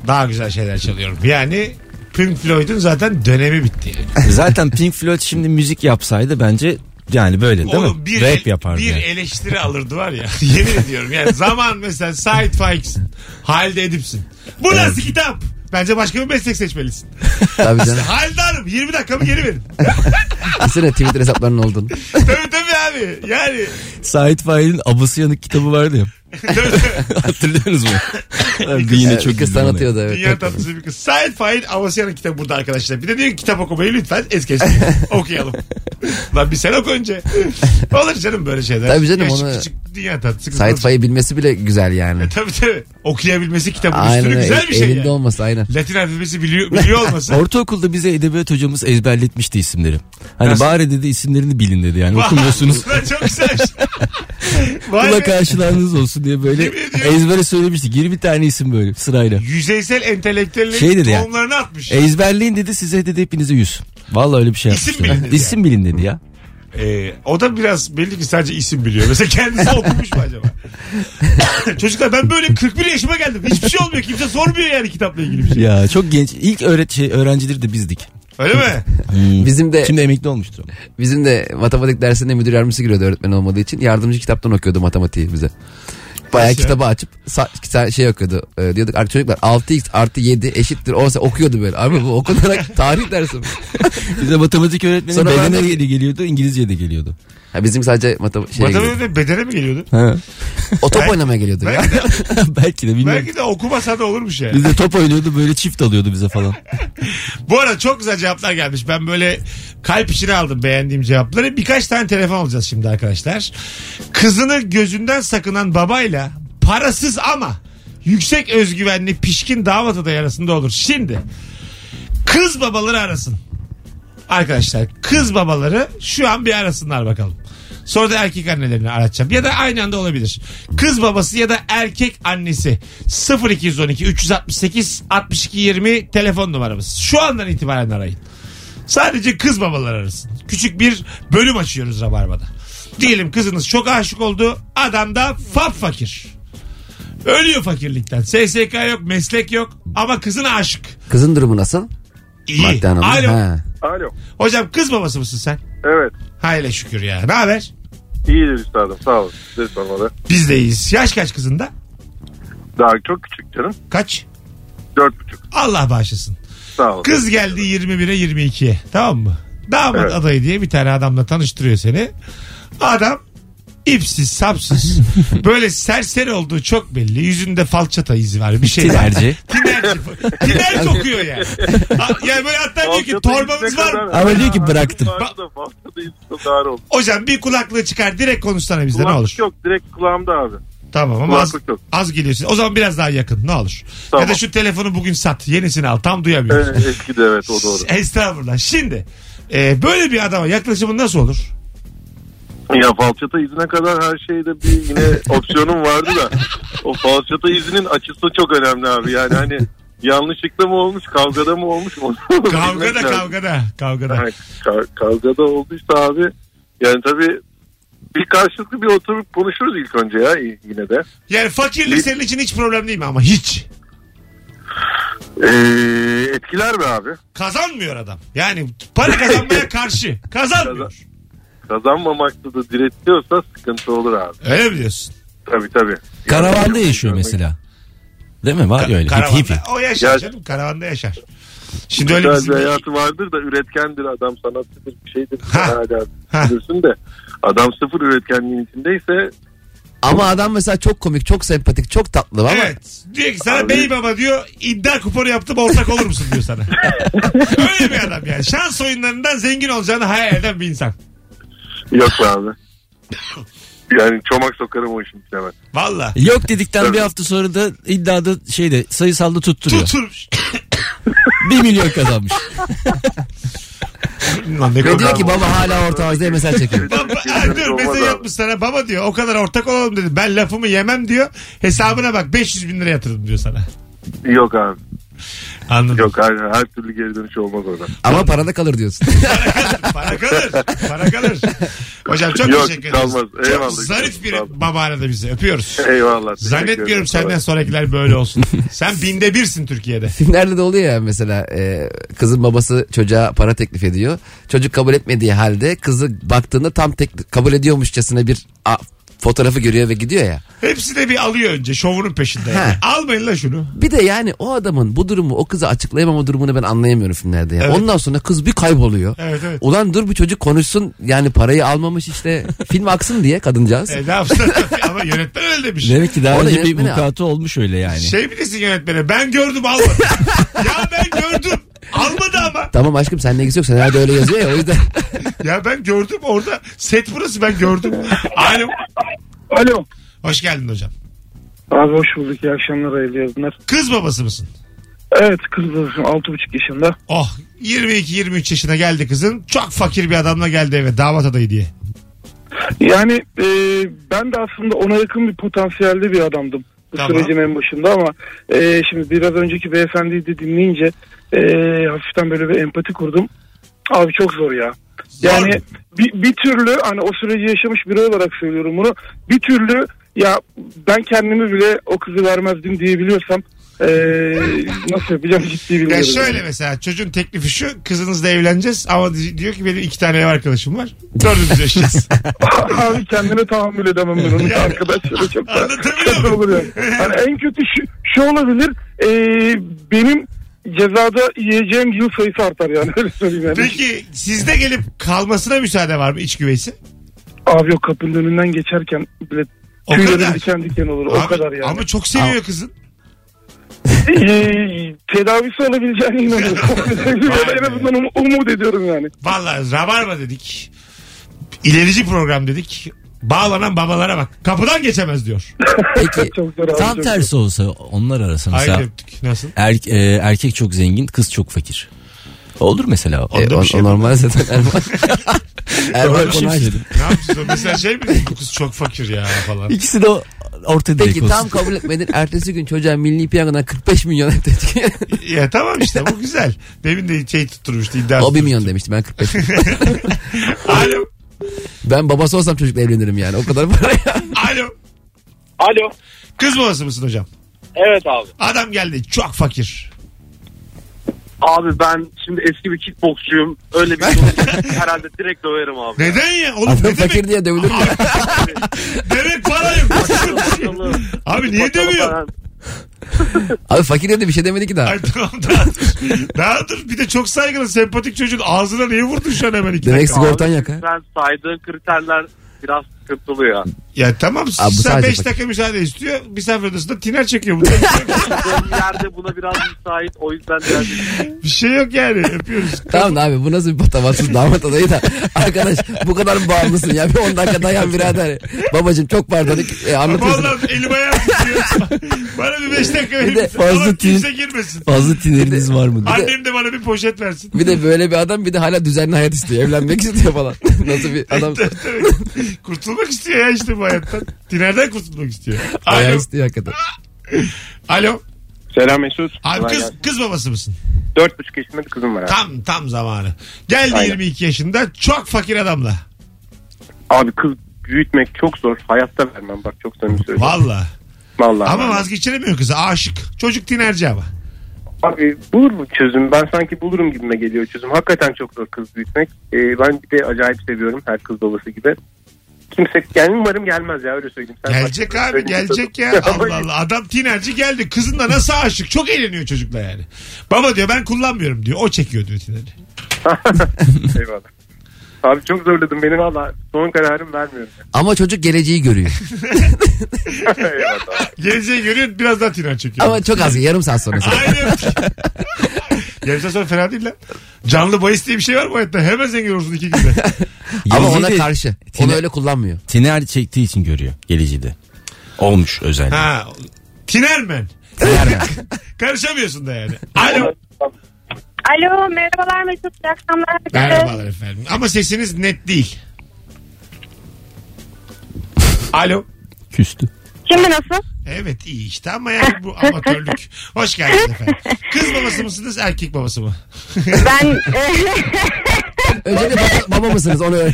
B: daha güzel şeyler çalıyorum. Yani Pink Floyd'un zaten
C: <laughs>
B: dönemi bitti.
C: Zaten Pink Floyd şimdi müzik yapsaydı bence yani böyle değil
B: Oğlum
C: mi?
B: bir,
C: Rap
B: el-
C: yapardı.
B: bir
C: yani.
B: eleştiri alırdı var ya. <laughs> Yemin ediyorum yani zaman mesela Said Faik'sin. Halide Edip'sin. Bu nasıl kitap? Bence başka bir meslek seçmelisin.
D: Tabii canım.
B: Halide Hanım 20 dakikamı
C: <laughs>
B: geri verin.
D: Düşünsene Twitter hesaplarının olduğunu.
B: tabii tabii abi. Yani <laughs>
C: Sait Faik'in Abası Yanık kitabı vardı ya. Hatırlıyorsunuz mu? Abi yine
D: Evet,
C: çok
D: kız
C: güldüm ona.
D: tanıtıyordu evet.
B: Dünya tatlısı bir kız. Sait Fahin Avasya'nın kitabı burada arkadaşlar. Bir de diyor ki kitap okumayı lütfen es geçin.
D: <laughs>
B: Okuyalım. Lan bir sen oku önce. Olur canım böyle şeyler.
D: Tabii canım,
B: Yaşı
D: onu-
B: küçük dünya tatlısı kız. E,
D: Sait Faik'i bilmesi bile güzel yani.
B: Tabii tabii. Okuyabilmesi kitabın
D: Aynen
B: üstüne güzel
D: öyle. E,
B: bir şey.
D: Elinde
B: yani.
D: olması aynen.
B: Latin alfabesi biliyor,
D: <laughs>
B: biliyor olması.
C: Ortaokulda bize edebiyat hocamız ezberletmişti isimleri. Hani
B: Nasıl?
C: bari dedi isimlerini bilin dedi yani okumuyorsunuz.
B: Lan çok güzel.
D: <laughs>
B: bir şey. Vay
C: Kula
B: be.
C: karşılığınız olsun diye böyle
B: Yemin ediyorum.
C: ezbere söylemiştik. 20 tane isim böyle sırayla.
B: Yüzeysel entelektüellerin
C: Şey dedi ya.
B: tohumlarını atmış.
D: e,
C: Ezberleyin dedi size dedi hepinize 100. Vallahi öyle bir şey
B: İsim
C: yapmıştı.
B: bilin dedi
C: İsim bilin dedi ya.
B: Ee, o da biraz belli ki sadece isim biliyor. Mesela kendisi okumuş mu acaba? <coughs> Çocuklar ben böyle 41 yaşıma geldim. Hiçbir şey olmuyor. Kimse sormuyor yani kitapla ilgili bir şey.
C: Ya çok genç. İlk öğret şey, öğrencileri de bizdik.
B: Öyle mi?
C: şey
D: Bizim de
C: Şimdi emekli olmuştur. <laughs> ama.
D: bizim de matematik dersinde müdür yardımcısı giriyordu öğretmen olmadığı için. Yardımcı kitaptan okuyordu matematiği bize. Bayağı
B: Nasıl ya?
D: kitabı açıp sa- sa- şey okuyordu. Ee, diyorduk "Ar- çocuklar 6x artı 7 eşittir 10 okuyordu böyle. Abi bu
B: <laughs>
D: okunarak tarih dersi mi?
C: Bize matematik öğretmeni
D: Sonra ben
C: bedene
D: de-
C: de geliyordu, İngilizce de geliyordu.
D: Ha, bizim sadece matematik şey
B: Matematikte bedene mi geliyordu?
D: O top oynamaya geliyordu ya.
B: Belki
C: <laughs>
B: de,
C: Belki de bilmiyorum.
B: belki de okumasa da olurmuş yani.
C: Bize top oynuyordu böyle çift alıyordu bize
B: <laughs>
C: falan.
B: Bu arada çok güzel cevaplar gelmiş. Ben böyle kalp içine aldım beğendiğim cevapları. Birkaç tane telefon alacağız şimdi arkadaşlar. Kızını gözünden sakınan babayla parasız ama yüksek özgüvenli pişkin damat adayı arasında olur. Şimdi kız babaları arasın. Arkadaşlar kız babaları şu an bir arasınlar bakalım. Sonra da erkek annelerini aratacağım. Ya da aynı anda olabilir. Kız babası ya da erkek annesi 0212 368 62 20 telefon numaramız. Şu andan itibaren arayın. Sadece kız babalar arasın. Küçük bir bölüm açıyoruz Rabarba'da. Diyelim kızınız çok aşık oldu. Adam da fab fakir. Ölüyor fakirlikten. SSK yok, meslek yok ama kızına aşık.
D: Kızın durumu nasıl?
B: İyi.
D: Madde anlamda.
B: Alo.
D: Ha.
K: Alo.
B: Hocam kız babası mısın sen?
K: Evet.
B: Hayla şükür ya. Ne haber?
K: İyidir üstadım. Sağ olun. Sizi sormalı.
B: Biz de iyiyiz. Yaş kaç kızında?
K: Daha çok küçük canım.
B: Kaç?
K: Dört buçuk.
B: Allah bağışlasın.
K: Sağ olun.
B: Kız geldi 21'e 22'ye. Tamam mı? Damat
K: Evet.
B: adayı diye bir tane adamla tanıştırıyor seni. Adam ipsiz
K: <laughs>
B: sapsız böyle serseri olduğu çok belli. Yüzünde falçata izi var bir şey var.
C: Tinerci.
B: <laughs> Tinerci.
K: <laughs>
B: Tinerci okuyor yani. Ha- Yani böyle hatta diyor ki torbamız var mı?
C: Ama diyor ki bıraktım.
K: Falçada izle dar oldu.
B: Hocam bir kulaklığı çıkar direkt konuşsana bizde ne olur.
K: Kulaklık yok. Direkt kulağımda abi.
B: <laughs> Tamam ama az,
K: Kulaklık yok.
B: az geliyorsun. O zaman biraz daha yakın ne olur.
K: Tamam.
B: Ya da şu telefonu bugün sat. Yenisini al. Tam duyamıyoruz.
K: Evet, Ee, eski de evet o doğru.
B: <laughs> Estağfurullah. Şimdi e, böyle bir adama yaklaşımın nasıl olur?
K: Ya falçata izine kadar her şeyde
B: <laughs>
K: bir yine opsiyonum vardı da o falçata izinin açısı çok önemli abi. Yani hani yanlışlıkla mı olmuş, kavgada mı olmuş? onu <laughs> bilmek
B: Kavgada
K: lazım.
B: kavgada kavgada.
K: Yani ka- kavgada olduysa abi yani tabii bir karşılıklı bir oturup konuşuruz ilk önce ya y- yine de.
B: Yani fakirlik senin için hiç problem değil mi ama hiç.
K: Ee, etkiler mi abi?
B: Kazanmıyor adam. Yani para
K: <laughs>
B: kazanmaya karşı. Kazanmıyor.
K: Kazanmamakta da diretiyorsa sıkıntı olur abi.
B: Öyle mi diyorsun?
K: Tabii tabii.
C: Karavanda yaşıyor mesela. Değil mi? Var ya öyle.
B: Karavanda.
C: Hippie hippie.
B: O yaşar
K: Ya-
B: canım. Karavanda yaşar. Şimdi öyle
K: Güzel bir
B: bizim...
K: hayatı vardır da üretkendir adam sanatçıdır bir şey şeydir
B: Ha.
K: hala
B: Ha.
K: bilirsin de adam sıfır üretkenliğin içindeyse
D: Ama adam mesela çok komik, çok sempatik, çok tatlı ama
B: Evet. Diyor ki sana
K: Abi-
B: bey baba diyor iddia kuponu yaptım ortak olur musun diyor sana. Öyle bir adam yani. Şans oyunlarından zengin olacağını hayal eden bir insan.
K: yok be
B: <laughs>
K: abi. Yani çomak sokarım o işin içine ben.
B: Valla.
C: Yok dedikten bir hafta sonra da iddiada şeyde sayısalda tutturuyor.
B: Tutturmuş.
C: 1 milyon kazanmış.
B: <laughs> Lan ne
D: ve
B: komik.
D: diyor ki baba hala ortamızda mesaj
B: <laughs>
D: çekiyor.
B: Baba, ha, dur mesaj yapmış sana baba diyor o kadar ortak olalım dedi. Ben lafımı yemem diyor. Hesabına bak 500 bin lira yatırdım diyor sana.
K: Yok abi.
B: Anladım.
K: Yok hayır, her türlü geri dönüş olmaz oradan.
D: Ama parada kalır diyorsun.
B: Para kalır. Para kalır. Hocam çok
K: Yok,
B: teşekkür ederiz.
K: kalmaz.
B: Çok
K: Eyvallah.
B: zarif bir
K: Kalmaz.
B: baba aradı bizi. Öpüyoruz.
K: Eyvallah. teşekkür
B: Zannetmiyorum
K: ederim.
B: senden sonrakiler böyle olsun.
K: <laughs>
B: Sen binde birsin Türkiye'de.
D: Filmlerde de oluyor ya mesela e, kızın babası çocuğa para teklif ediyor. Çocuk kabul etmediği halde kızı baktığında tam tek, kabul ediyormuşçasına bir a, fotoğrafı görüyor ve gidiyor ya.
B: Hepsi de bir alıyor önce şovunun peşinde. Yani.
D: Ha.
B: Almayın la şunu.
D: Bir de yani o adamın bu durumu o kıza açıklayamama durumunu ben anlayamıyorum filmlerde. ya.
B: Evet.
D: Ondan sonra kız bir kayboluyor.
B: Evet evet.
D: Ulan dur bu çocuk konuşsun yani parayı almamış işte
B: <laughs>
D: film aksın diye kadıncağız.
B: E, ne yapsın? <laughs> Ama yönetmen öyle demiş.
C: Demek ki
D: O
C: daha
D: da
C: önce bir
D: yönetmeni
C: vukuatı olmuş öyle yani.
B: Şey mi desin yönetmene? Ben gördüm almadı. <laughs> ya ben gördüm. Almadı ama.
D: Tamam aşkım seninle ilgisi yok sen herhalde öyle yazıyor ya o
B: <laughs>
D: yüzden.
B: Ya ben gördüm orada. Set burası ben gördüm. Alo.
H: Alo.
B: Hoş geldin hocam.
H: Abi hoş bulduk. İyi akşamlar hayırlı yayınlar.
B: Kız babası mısın?
H: Evet kız babasım 6,5 yaşında.
B: Oh 22-23 yaşına geldi kızın. Çok fakir bir adamla geldi eve damat adayı diye.
H: Yani e, ben de aslında ona yakın bir potansiyelli bir adamdım. Bu
B: Tamam.
H: sürecin en başında ama e, şimdi biraz önceki beyefendiyi de dinleyince e, hafiften böyle bir empati kurdum. Abi çok zor ya.
B: Zor
H: yani
B: mu?
H: bir, bir türlü hani o süreci yaşamış biri olarak söylüyorum bunu. Bir türlü ya ben kendimi bile o kızı vermezdim diyebiliyorsam e, nasıl yapacağım ciddi
B: Ya
H: bilmiyorum.
B: şöyle mesela çocuğun teklifi şu kızınızla evleneceğiz ama di- diyor ki benim iki tane ev arkadaşım var. Dördümüz
H: <laughs>
B: yaşayacağız.
H: Abi kendine tahammül edemem ben onu. Arkadaşları çok da
B: Anlatabiliyor
H: kötü
B: muyum?
H: olur yani. Hani en kötü şu, şu olabilir. Ee, benim cezada yiyeceğim yıl sayısı artar yani. Öyle söyleyeyim yani.
B: Peki sizde gelip kalmasına müsaade var mı iç güveysi?
H: Abi yok kapının önünden geçerken bile
B: O
H: tüylerim
B: kadar.
H: diken diken olur.
B: Abi-
H: o kadar yani.
B: Ama çok seviyor kızın.
H: Ee, tedavisi olabileceğine
B: <laughs>
H: inanıyorum.
B: Vay
H: en
B: be.
H: azından um- umut ediyorum yani.
B: Vallahi rabarba dedik. İlerici program dedik. Bağlanan babalara bak. Kapıdan geçemez diyor.
C: Peki
H: Çok zor abi.
C: tam
H: çok
C: tersi olsa onlar arasında
B: Hayır
C: mesela
B: öptük. Nasıl?
C: er- e, erkek çok zengin kız çok fakir. Olur mesela E, o.
B: Onda
D: o,
B: bir şey
D: o
B: yok.
D: normal
B: <laughs>
D: zaten Erman. Erman
C: Doğru
B: şey
D: konağı
C: şimdi.
D: açtı.
B: Ne yapacağız? Mesela şey mi? Bu kız çok fakir ya falan.
H: <laughs>
C: İkisi de orta direk
D: Peki
C: olsun.
D: tam kabul etmedin. Ertesi gün çocuğa milli piyangodan 45 milyon
C: <laughs>
D: ödedik.
B: ya tamam işte bu güzel. Demin de şey tutturmuştu iddia.
D: o 1 milyon
B: tutturmuştu.
D: demişti ben 45.
B: Alo.
D: ben babası olsam çocukla evlenirim yani o kadar paraya.
B: Alo.
I: Alo.
B: Kız babası mısın hocam?
I: <laughs> Evet abi.
B: Adam geldi çok fakir.
I: Abi ben şimdi eski bir kickboksçuyum. Öyle
J: <laughs>
I: bir herhalde direkt döverim abi.
B: Neden ya? Oğlum
D: Adam
B: ne
D: fakir
B: demek?
D: diye dövülür mü?
B: Demek para
D: <laughs>
B: yok. Abi niye demiyor?
D: Abi fakir dedi bir şey demedi ki daha.
B: Ay tamam daha dur. Daha dur. Bir de çok saygılı sempatik çocuğun ağzına niye vurdun şu an hemen iki
D: Demek
B: dakika?
D: sigortan yok ha.
I: Sen saydığın kriterler biraz sıkıntılı ya.
B: Ya tamam
D: Abi bu
B: sen
D: sadece
B: 5
D: bak-
B: dakika müsaade istiyor. Misafir odasında tiner çekiyor. Bunda
I: Benim yerde buna biraz müsait. O yüzden biraz...
B: bir şey yok yani.
D: <laughs>
B: Öpüyoruz.
D: Tamam da abi bu nasıl bir patavatsız damat adayı da arkadaş bu kadar mı bağımlısın ya bir 10 dakika dayan birader. Babacım çok pardon e, anlatıyorsun.
B: Vallahi elim ayağım tutuyor. <laughs> Bana bir 5 dakika verir
D: de
B: misin?
D: fazla
B: Ama kimse
C: tin-
B: girmesin.
C: Fazla tineriniz var mı?
D: de-
B: Annem de bana bir poşet versin.
D: Bir de böyle bir adam bir de hala düzenli hayat istiyor.
B: <laughs>
D: Evlenmek istiyor falan. Nasıl bir <laughs> adam
B: kurtulmak istiyor ya işte bu hayattan. Tinerden kurtulmak istiyor.
D: bayağı
B: Alo.
D: istiyor hakikaten.
B: Alo.
H: Selam Mesut.
B: Abi kız, kız babası mısın?
H: 4,5 yaşında bir kızım var abi.
B: Tam tam zamanı. Geldi
H: Aynen.
B: 22 yaşında çok fakir adamla.
H: Abi kız büyütmek çok zor. Hayatta vermem bak çok samimi söylüyorum.
B: Valla.
H: Vallahi.
B: Ama vazgeçiremiyor kızı. Aşık. Çocuk tinerci ama.
H: Abi bulur mu çözüm? Ben sanki bulurum gibime geliyor çözüm. Hakikaten çok zor kız büyütmek. Ee, ben bir de acayip seviyorum her kız babası gibi. Kimse gel umarım gelmez ya öyle söyleyeyim. Sen
B: Gelecek
H: bak-
B: abi
H: öyle bir- şey
B: gelecek
H: <laughs>
B: ya. Allah Allah. Adam tinerci geldi. Kızın da nasıl aşık. Çok eğleniyor çocukla yani. Baba diyor ben kullanmıyorum diyor. O çekiyor diyor tineri.
H: Eyvallah. Abi çok zorladım beni valla son
B: <laughs>
H: kararım vermiyorum.
D: Ama çocuk geleceği görüyor.
H: Eyvallah.
B: Geleceği görüyor biraz daha tiner
D: <laughs>
B: çekiyor.
D: Ama çok az yarım saat sonra.
B: Aynen. Yarım saat sonra fena değil lan. Canlı bahis diye bir şey var bu hayatta. Hemen zengin olursun iki günde.
D: Ama
C: Geleceği
D: ona
C: de
D: karşı. Onu
C: Tine-
D: öyle kullanmıyor.
C: Tiner çektiği için görüyor geleceği de. Olmuş özellikle.
B: ha. Tinermen.
D: Tiner mi?
B: <laughs> Karışamıyorsun da yani. Alo.
G: <laughs> Alo merhabalar Mesut. İyi akşamlar. Ee,
B: Merhabalar efendim. Ama sesiniz net değil. Alo.
C: Küstü.
G: Şimdi nasıl?
B: Evet iyi işte ama yani
G: <laughs>
B: bu amatörlük. Hoş geldiniz efendim. Kız babası mısınız erkek babası mı?
G: Ben e, <laughs>
D: Önce de baba, baba mısınız onu öyle.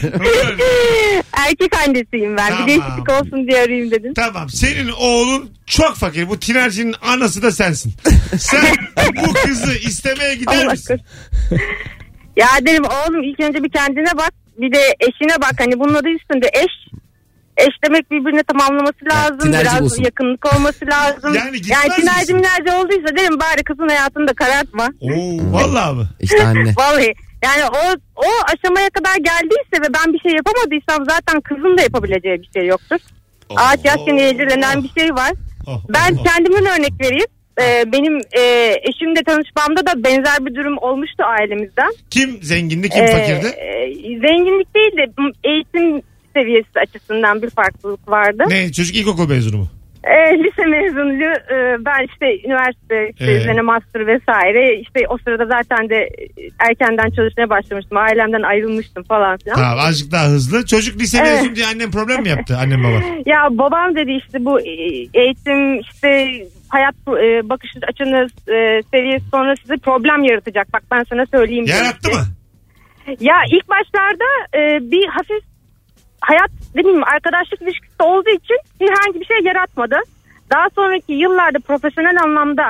G: erkek annesiyim ben.
B: Tamam.
G: Bir değişiklik olsun diye arayayım dedim.
B: tamam senin oğlun çok fakir. Bu tinercinin anası da sensin. Sen bu kızı istemeye gider
G: Allah
B: misin?
G: <laughs> Ya derim oğlum ilk önce bir kendine bak. Bir de eşine bak. Hani bunun adı üstünde eş. eşlemek birbirini tamamlaması lazım.
D: tinerci
G: Biraz
D: bulsun.
G: yakınlık olması lazım.
B: Yani gitmez misin?
G: tinerci minerci olduysa derim bari kızın hayatını da karartma.
B: Oo, vallahi mı?
D: <laughs> İşte anne.
G: <laughs> Vallahi yani o o aşamaya kadar geldiyse ve ben bir şey yapamadıysam zaten kızın da yapabileceği bir şey yoktur. Ağaç yaşken eğlenen bir şey var.
B: Oh, oh,
G: Ben
B: oh.
G: kendimden örnek vereyim. Ee, benim e, eşimle tanışmamda da benzer bir durum olmuştu ailemizden.
B: Kim zengindi kim
G: Ee,
B: fakirdi?
G: e, zenginlik değil de m- eğitim seviyesi açısından bir farklılık vardı.
B: Ne çocuk ilkokul mezunu mu?
G: Ee, lise mezunluğu e, ben işte üniversite işte
B: Ee?
G: üzerine master vesaire işte o sırada zaten de e, erkenden çalışmaya başlamıştım. Ailemden ayrılmıştım falan filan.
B: Tamam azıcık daha hızlı. Çocuk lise
G: Evet.
B: mezunu diye annem problem mi yaptı
G: <laughs>
B: annem baba?
G: Ya babam dedi işte bu e, eğitim işte hayat e, bakış açınız e, seviyesi sonra size problem yaratacak. Bak ben sana söyleyeyim.
B: Yarattı
G: demişti.
B: mı?
G: Ya ilk başlarda e, bir hafif hayat ne bileyim arkadaşlık ilişkisi olduğu için herhangi bir şey yaratmadı. Daha sonraki yıllarda profesyonel anlamda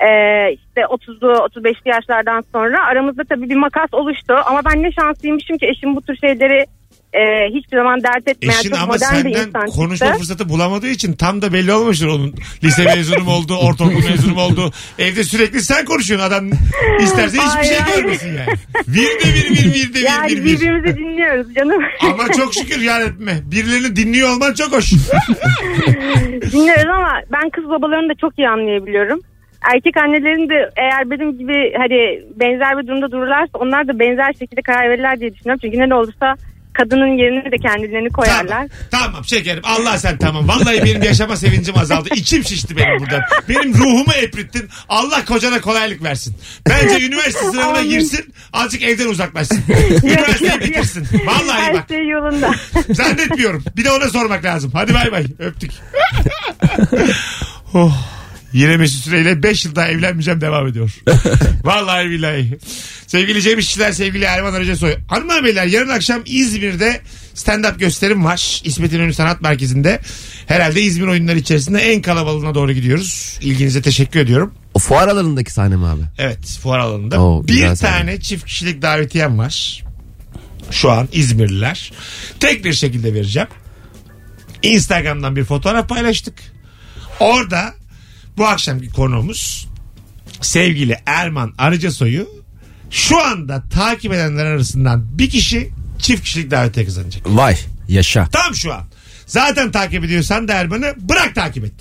G: e, işte 30'lu 35'li yaşlardan sonra aramızda tabii bir makas oluştu. Ama ben ne şanslıymışım ki eşim bu tür şeyleri e, hiçbir zaman dert etmeyen
B: Eşin
G: çok
B: E ama
G: modern bir
B: senden
G: insan
B: konuşma
G: çıktı.
B: fırsatı bulamadığı için tam da belli olmamıştır onun lise
G: <laughs>
B: mezunum oldu, ortaokul mezunum oldu. Evde sürekli sen konuşuyorsun adam isterse hiçbir
G: Ay,
B: şey
G: ay.
B: görmesin yani. Bir de bir bir bir de
G: Yani
B: bir bir bir.
G: birbirimizi dinliyoruz
B: <laughs>
G: canım.
B: Ama çok şükür yaratma. Birilerini dinliyor olman çok hoş.
G: <laughs> Dinliyoruz ama ben kız babalarını da çok iyi anlayabiliyorum. Erkek annelerin de eğer benim gibi hani benzer bir durumda dururlarsa onlar da benzer şekilde karar verirler diye düşünüyorum. Çünkü ne de olursa kadının yerine de kendilerini koyarlar.
B: <laughs> Tamam, tamam şekerim. Allah sen tamam. Vallahi benim yaşama sevincim azaldı. İçim şişti benim buradan. Benim ruhumu eprittin. Allah kocana kolaylık versin. Bence üniversite sınavına
G: Amin.
B: girsin. Azıcık evden uzaklaşsın.
G: Yok, <laughs>
B: Üniversiteyi
G: yok, yok.
B: bitirsin.
G: Her
B: Vallahi bak.
G: şey yolunda.
B: <laughs> Zannetmiyorum. Bir de ona sormak lazım. Hadi bay bay. Öptük. oh. Yine Mesut Süreyle 5 yıl daha evlenmeyeceğim devam ediyor. Vallahi billahi. Sevgili Cem İşçiler, sevgili Erman Arıcasoy. Hanımlar beyler yarın akşam İzmir'de stand-up gösterim var. İsmet İnönü Sanat Merkezi'nde. Herhalde İzmir oyunları içerisinde en kalabalığına doğru gidiyoruz. İlginize teşekkür ediyorum.
D: O fuar alanındaki sahne mi abi?
B: Evet fuar alanında.
D: Oo,
B: bir
D: güzel
B: tane
D: sahne.
B: çift kişilik davetiyem var. Şu an İzmirliler. Tek bir şekilde vereceğim. Instagram'dan bir fotoğraf paylaştık. Orada bu akşamki konuğumuz sevgili Erman Arıcasoy'u şu anda takip edenler arasından bir kişi çift kişilik davetiye kazanacak.
C: Vay yaşa.
B: Tam şu an. Zaten takip ediyorsan da Erman'ı bırak
C: <laughs>
B: takip et.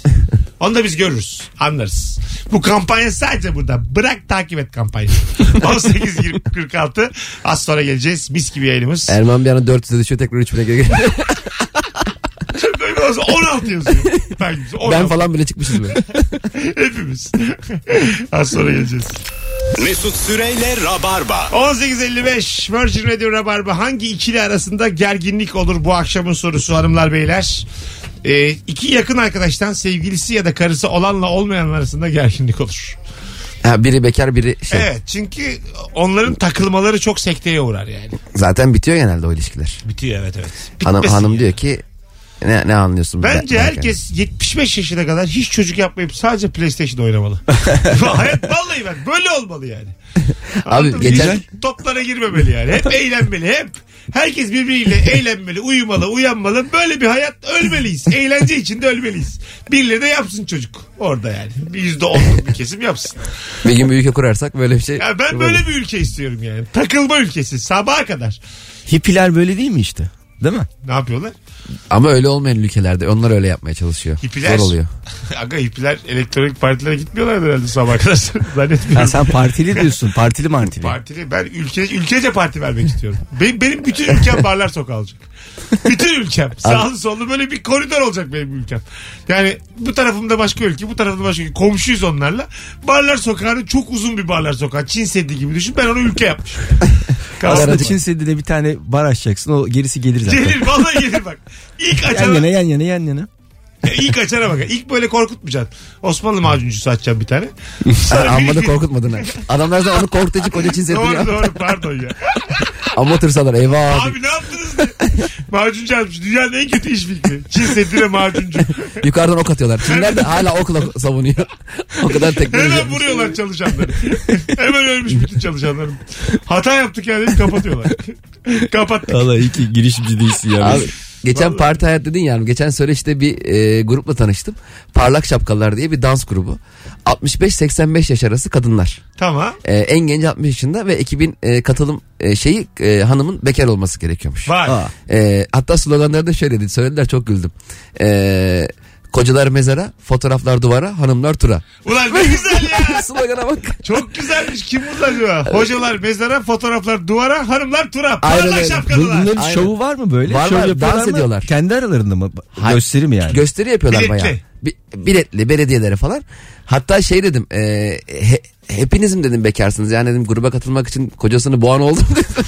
B: Onu da biz görürüz. Anlarız. Bu kampanya sadece burada. Bırak takip
C: <laughs>
B: et kampanyası. 18.46 az sonra geleceğiz. Mis gibi yayınımız.
C: Er-
B: <laughs>
D: Erman bir ara 400'e düşüyor tekrar 3000'e geri geliyor.
B: 16 yazıyor. Ben, 16.
D: ben falan bile çıkmışız böyle.
B: Hepimiz. <laughs> az sonra geleceğiz.
A: Mesut Süreyle Rabarba.
B: 18.55 Virgin Radio Rabarba hangi ikili arasında gerginlik olur bu akşamın sorusu hanımlar beyler. Ee, iki yakın arkadaştan sevgilisi ya da karısı olanla olmayan arasında gerginlik olur.
D: Ha, biri bekar biri şey.
B: Evet çünkü onların takılmaları çok sekteye uğrar yani.
D: Zaten bitiyor genelde o ilişkiler.
B: Bitiyor evet evet.
D: Hanım,
B: Bitmesin
D: hanım
B: yani.
D: diyor ki ne, ne anlıyorsun? bizden?"
B: Bence
D: derken.
B: herkes 75 yaşına kadar hiç çocuk yapmayıp sadece
D: <laughs>
B: PlayStation oynamalı. Hayat vallahi bak böyle olmalı yani. Anladın mı?
D: geçen-
B: Hiç toplara girmemeli yani. Hep eğlenmeli hep.
D: <laughs>
B: Herkes birbiriyle eğlenmeli, uyumalı, uyanmalı. Böyle bir hayat ölmeliyiz. Eğlence içinde ölmeliyiz. Birileri de yapsın çocuk orada yani. Bir yüzde onluk bir kesim yapsın.
D: Bir gün bir ülke kurarsak böyle bir şey.
B: Ya ben böyle bir ülke istiyorum yani. Takılma ülkesi sabaha kadar.
C: Hippiler böyle değil mi işte? Değil mi?
B: Ne yapıyorlar?
D: Ama öyle olmayan ülkelerde onlar öyle yapmaya çalışıyor.
B: Hippiler.
D: Zor
B: <laughs>
D: oluyor.
B: Aga hippiler elektronik partilere gitmiyorlar herhalde sabah kadar. <laughs>
C: Ha,
B: Zannetmiyorum.
C: sen partili diyorsun. Partili martili.
B: Partili ben ülke, ülkece parti vermek istiyorum. <laughs> Benim, benim bütün ülkem barlar sokağı olacak. Bütün ülkem. Sağlı sollu böyle bir koridor olacak benim ülkem. Yani bu tarafımda başka ülke, bu tarafımda başka ülke. Komşuyuz onlarla. Barlar sokağını çok uzun bir barlar sokağı. Çin Seddi gibi düşün. Ben onu
D: <laughs>
B: ülke yapmışım.
C: Aslında
B: Kalsın.
C: Çin Seddi'de bir tane bar açacaksın. O gerisi gelir zaten.
B: Gelir vallahi gelir bak. İlk
C: Yan
B: açana,
C: yana yan yana yan yana.
B: ilk açana bak. İlk böyle korkutmayacaksın. Osmanlı macuncusu açacağım
D: <laughs>
B: bir tane.
D: Ha, Amma da
B: bir-
D: korkutmadın ha. Adamlar zaten onu korkutucu koca çin setini
B: Doğru
D: ya.
B: doğru pardon ya.
D: Amma tırsalar eyvah.
B: Abi ne yaptınız diye. <laughs> Macuncu almış. Dünyanın en kötü iş fikri. Çin Seddi'ne
D: <laughs>
B: macuncu.
D: Yukarıdan ok atıyorlar. Çinler de hala okla savunuyor. <laughs> o kadar teknoloji.
B: Hemen
D: yapmış.
B: vuruyorlar çalışanları. Hemen ölmüş bütün çalışanların. Hata yaptık yani deyip kapatıyorlar. <laughs> Kapattık.
C: Valla iyi ki girişimci değilsin ya.
D: Abi, Geçen parti hayat dedin yani. Geçen sene işte bir e, grupla tanıştım. Parlak Şapkalar diye bir dans grubu. 65-85 yaş arası kadınlar.
B: Tamam.
D: E, en genç 60 yaşında ve ekibin e, katılım e, şeyi e, hanımın bekar olması gerekiyormuş.
B: Var.
D: E, hatta sloganları da şöyle dedi. Söylediler çok güldüm. E, kocalar mezara, fotoğraflar duvara, hanımlar tura. <laughs>
B: Ulan ne güzel ya.
D: Slogana bak.
B: Çok güzelmiş. Kim bunlar acaba? Hocalar mezara, fotoğraflar duvara, hanımlar tura.
D: Aynen
B: Parlak
D: öyle.
B: şapkalılar.
C: Bunların
D: Aynen.
C: şovu var mı böyle?
D: Var,
C: Şov
D: var.
C: yapıyorlar
D: Dans
C: mı?
D: ediyorlar.
C: Kendi aralarında mı?
D: Hayır.
C: Gösteri mi yani?
D: Gösteri yapıyorlar
B: Biletli.
D: bayağı. Bi- biletli belediyelere falan. Hatta şey dedim e, he- hepiniz mi dedim bekarsınız yani dedim gruba katılmak için kocasını boğan oldum dedim.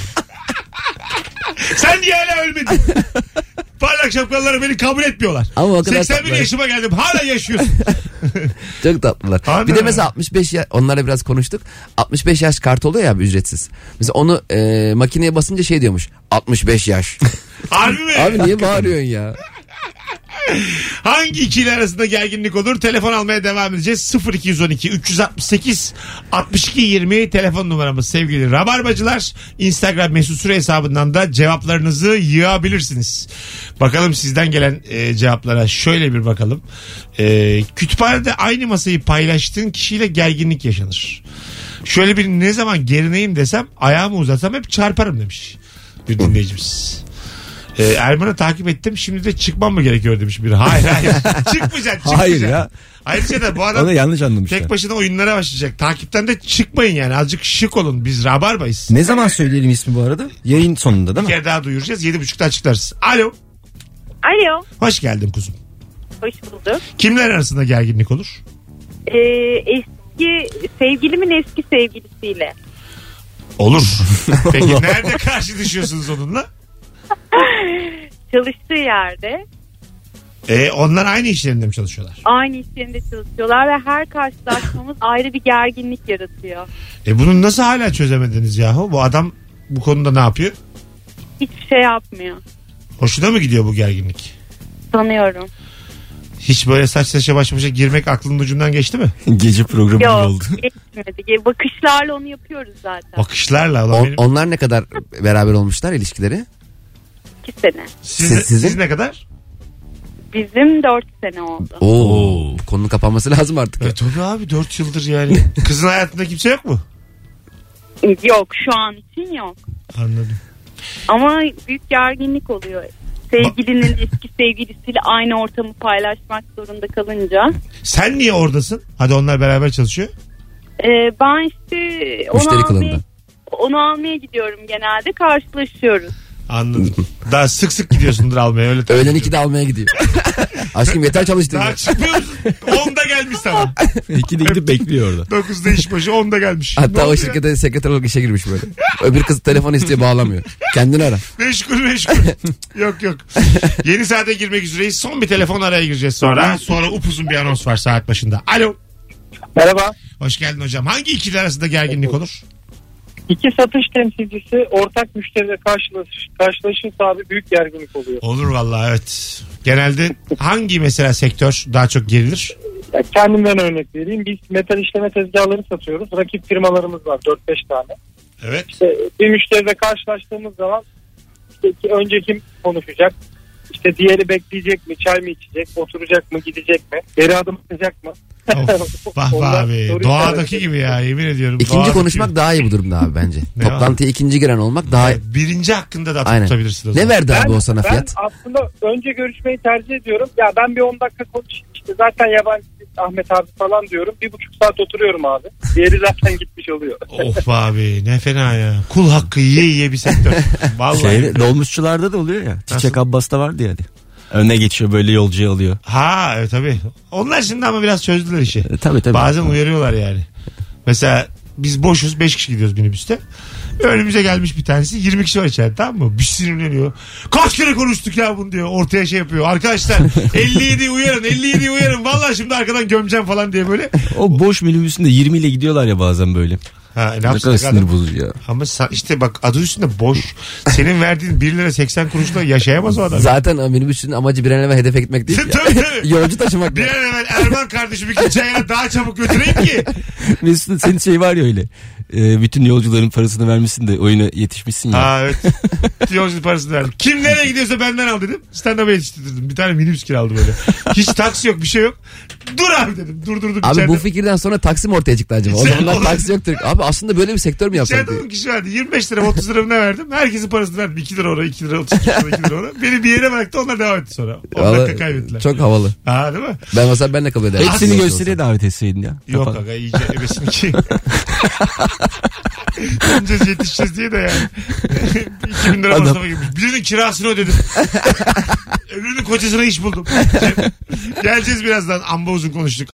B: Sen niye
D: <laughs>
B: hala ölmedin? Parlak şapkalıları beni kabul etmiyorlar.
D: Ama o kadar
B: 81
D: tatlı.
B: yaşıma geldim. Hala yaşıyorsun.
D: <laughs> Çok tatlılar.
B: Abi
D: bir de
B: ya.
D: mesela 65 ya, onlarla biraz konuştuk. 65 yaş kartı oluyor ya abi ücretsiz. Mesela onu e, makineye basınca şey diyormuş. 65 yaş.
B: Harbi mi?
D: abi niye bağırıyorsun ya?
B: Hangi ikili arasında gerginlik olur? Telefon almaya devam edeceğiz. 0212 368 62 20 telefon numaramız sevgili Rabarbacılar. Instagram mesut süre hesabından da cevaplarınızı yığabilirsiniz. Bakalım sizden gelen e, cevaplara şöyle bir bakalım. E, kütüphanede aynı masayı paylaştığın kişiyle gerginlik yaşanır. Şöyle bir ne zaman gerineyim desem ayağımı uzatsam hep çarparım demiş bir dinleyicimiz. Ee, Erman'ı takip ettim şimdi de çıkmam mı gerekiyor demiş biri. Hayır hayır
C: <laughs>
B: çıkmayacaksın çıkmayacaksın.
C: Hayır ya.
B: Ayrıca da bu adam
C: Onu yanlış anlamışlar.
B: tek başına oyunlara başlayacak. Takipten de çıkmayın yani azıcık şık olun biz rabarbayız.
C: Ne zaman söyleyelim ismi bu arada? Yayın sonunda değil
B: Bir
C: mi?
B: kere daha duyuracağız yedi buçukta açıklarız. Alo
L: Alo.
B: hoş geldin kuzum.
L: Hoş bulduk.
B: Kimler arasında gerginlik olur?
L: Ee, eski sevgilimin eski sevgilisiyle.
B: Olur. Peki nerede karşılaşıyorsunuz onunla?
L: Çalıştığı yerde
B: Ee, onlar aynı işlerinde mi çalışıyorlar?
L: aynı iş yerinde çalışıyorlar ve her karşılaşmamız ayrı bir gerginlik yaratıyor.
B: E bunu nasıl hala çözemediniz yahu? Bu adam bu konuda ne yapıyor?
L: Hiçbir şey yapmıyor.
B: Hoşuna mı gidiyor bu gerginlik?
L: Sanıyorum.
B: Hiç böyle saç saça baş başa girmek aklının ucundan geçti mi?
C: <laughs> Gece programı gibi
L: Yok
D: <laughs>
C: oldu. <laughs>
L: geçmedi. Bakışlarla onu yapıyoruz zaten.
B: Bakışlarla. Ulan
D: On-
B: benim-
D: onlar ne kadar beraber olmuşlar ilişkileri?
L: İki sene.
B: siz,
D: siz- sizin-
B: siz ne kadar?
L: Bizim dört sene oldu.
D: Oo. bu Konunun kapanması lazım artık.
B: E tabii abi 4 yıldır yani.
D: <laughs>
B: Kızın hayatında kimse yok mu?
L: Yok şu an için yok.
B: Anladım.
L: Ama büyük gerginlik oluyor. Sevgilinin eski sevgilisiyle aynı ortamı paylaşmak zorunda kalınca.
B: Sen niye oradasın? Hadi onlar beraber çalışıyor.
L: Ee, ben işte onu
D: Müşteri
L: almaya,
D: kılığında.
L: onu almaya gidiyorum genelde karşılaşıyoruz.
D: <laughs>
B: Anladım. Daha sık sık gidiyorsundur almaya öyle. tahmin
D: Öğlen
B: ediyorum.
D: 2'de almaya
B: <laughs>
D: gidiyor. Aşkım yeter çalıştın. ya.
B: Daha
D: <laughs>
B: çıkmıyor musun? 10'da gelmiş sana.
C: İki de gidip bekliyor orada.
B: 9'da iş başı 10'da gelmiş. Ne
D: Hatta
B: oldu
D: o
B: ya?
D: şirkete sekreter olarak işe girmiş böyle. Öbür kız telefon istiyor bağlamıyor. Kendini ara. <laughs>
B: Meşgul meşgul. yok yok. Yeni saate girmek üzereyiz. Son bir telefon araya gireceğiz sonra. Sonra upuzun bir anons var saat başında. Alo.
I: Merhaba.
B: Hoş geldin hocam. Hangi ikili arasında gerginlik olur?
I: İki satış temsilcisi ortak müşteriyle karşılaş, karşılaşırsa abi büyük gerginlik oluyor.
B: Olur vallahi evet. Genelde hangi mesela sektör daha çok gerilir?
I: Ya kendimden örnek vereyim. Biz metal işleme tezgahları satıyoruz. Rakip firmalarımız var 4-5 tane.
B: Evet.
I: İşte bir müşteriyle karşılaştığımız zaman işte ki önce kim konuşacak? İşte diğeri bekleyecek mi? Çay mı içecek? Oturacak mı? Gidecek mi? Geri adım atacak mı? <laughs>
B: Of, vah vah
I: Ondan
B: abi.
I: soru
B: Doğadaki
I: işareti.
B: gibi ya yemin ediyorum.
D: İkinci
B: Doğadaki
D: konuşmak
B: gibi.
D: daha iyi bu durumda abi bence.
B: Ne
D: Toplantıya ikinci giren olmak daha iyi.
B: Birinci hakkında da atıp
D: Aynen.
B: tutabilirsin. o
D: Ne
B: zaman.
D: verdi abi
I: Ben-
D: o sana fiyat?
I: Ben aslında önce görüşmeyi tercih ediyorum. Ya ben bir 10 dakika konuşayım. İşte zaten yabancı Ahmet abi falan diyorum. Bir buçuk saat oturuyorum abi. Diğeri zaten gitmiş oluyor.
B: Of abi ne fena ya. Kul hakkı yiye yiye
D: <laughs>
B: bir sektör. Vallahi.
C: Şey, dolmuşçularda da oluyor ya. Çiçek Abbas'ta vardı yani. Önüne geçiyor böyle yolcuyu alıyor.
B: Ha evet tabii. Onlar şimdi ama biraz çözdüler işi.
C: E, tabii tabii.
B: Bazen uyarıyorlar yani. Mesela biz boşuz 5 kişi gidiyoruz minibüste. Önümüze gelmiş bir tanesi 20 kişi var içeride tamam mı? Bir sinirleniyor. Kaç kere konuştuk ya bunu diyor. Ortaya şey yapıyor.
C: <laughs>
B: Arkadaşlar 57 uyarın 57 uyarın. Vallahi şimdi arkadan gömeceğim falan diye böyle.
C: O boş minibüsünde 20 ile gidiyorlar ya bazen böyle.
B: Ha, ne
C: Ne kadar
B: yapsın
C: sinir bozucu ya. <laughs>
B: Ama sa- işte bak adı üstünde boş. Senin verdiğin 1 lira 80 kuruşla yaşayamaz o adam.
D: Zaten minibüsün amacı bir an evvel hedefe gitmek değil.
B: <laughs> Tabii, tabii.
D: <laughs> Yolcu taşımak.
B: Bir an evvel Erman kardeşim ikinci ayına daha çabuk götüreyim ki.
C: Mesut'un senin şey var ya öyle. Ee, bütün yolcuların parasını vermişsin de oyuna yetişmişsin ya.
B: Aa evet. Yolculuk parasını verdim. Kim nereye gidiyorsa benden al dedim. Stand-up'a yetiştirdim. Bir tane minibüs kiraladı böyle. Hiç taksi yok bir şey yok. Dur abi dedim. Durdurdum
D: Abi
B: içeride.
D: bu fikirden sonra taksi mi ortaya çıktı acaba? O
B: İçeride
D: zamanlar
B: olur.
D: taksi yoktur. Abi aslında böyle bir sektör mü yapsak
B: İçeride
D: diye.
B: on kişi verdi. 25 lira 30 lira mı ne verdim? Herkesin parasını verdim. 2 lira oraya 2 lira 30 lira 2 lira oraya. Beni bir yere bıraktı onlar devam etti sonra. 10 dakika
D: Vallahi
B: kaybettiler.
D: Çok havalı.
B: Ha değil mi?
D: Ben mesela ben de kabul ederim.
C: Hepsini
D: Aslında
C: gösteriye davet etseydin ya.
B: Yok
C: Kapat.
B: aga iyice ebesin ki. Döneceğiz yetişeceğiz diye de yani. 2000 lira masrafa girmiş. Birinin kirasını ödedim. Öbürünün kocasına iş buldum. Geleceğiz birazdan. Amba uzun konuştuk.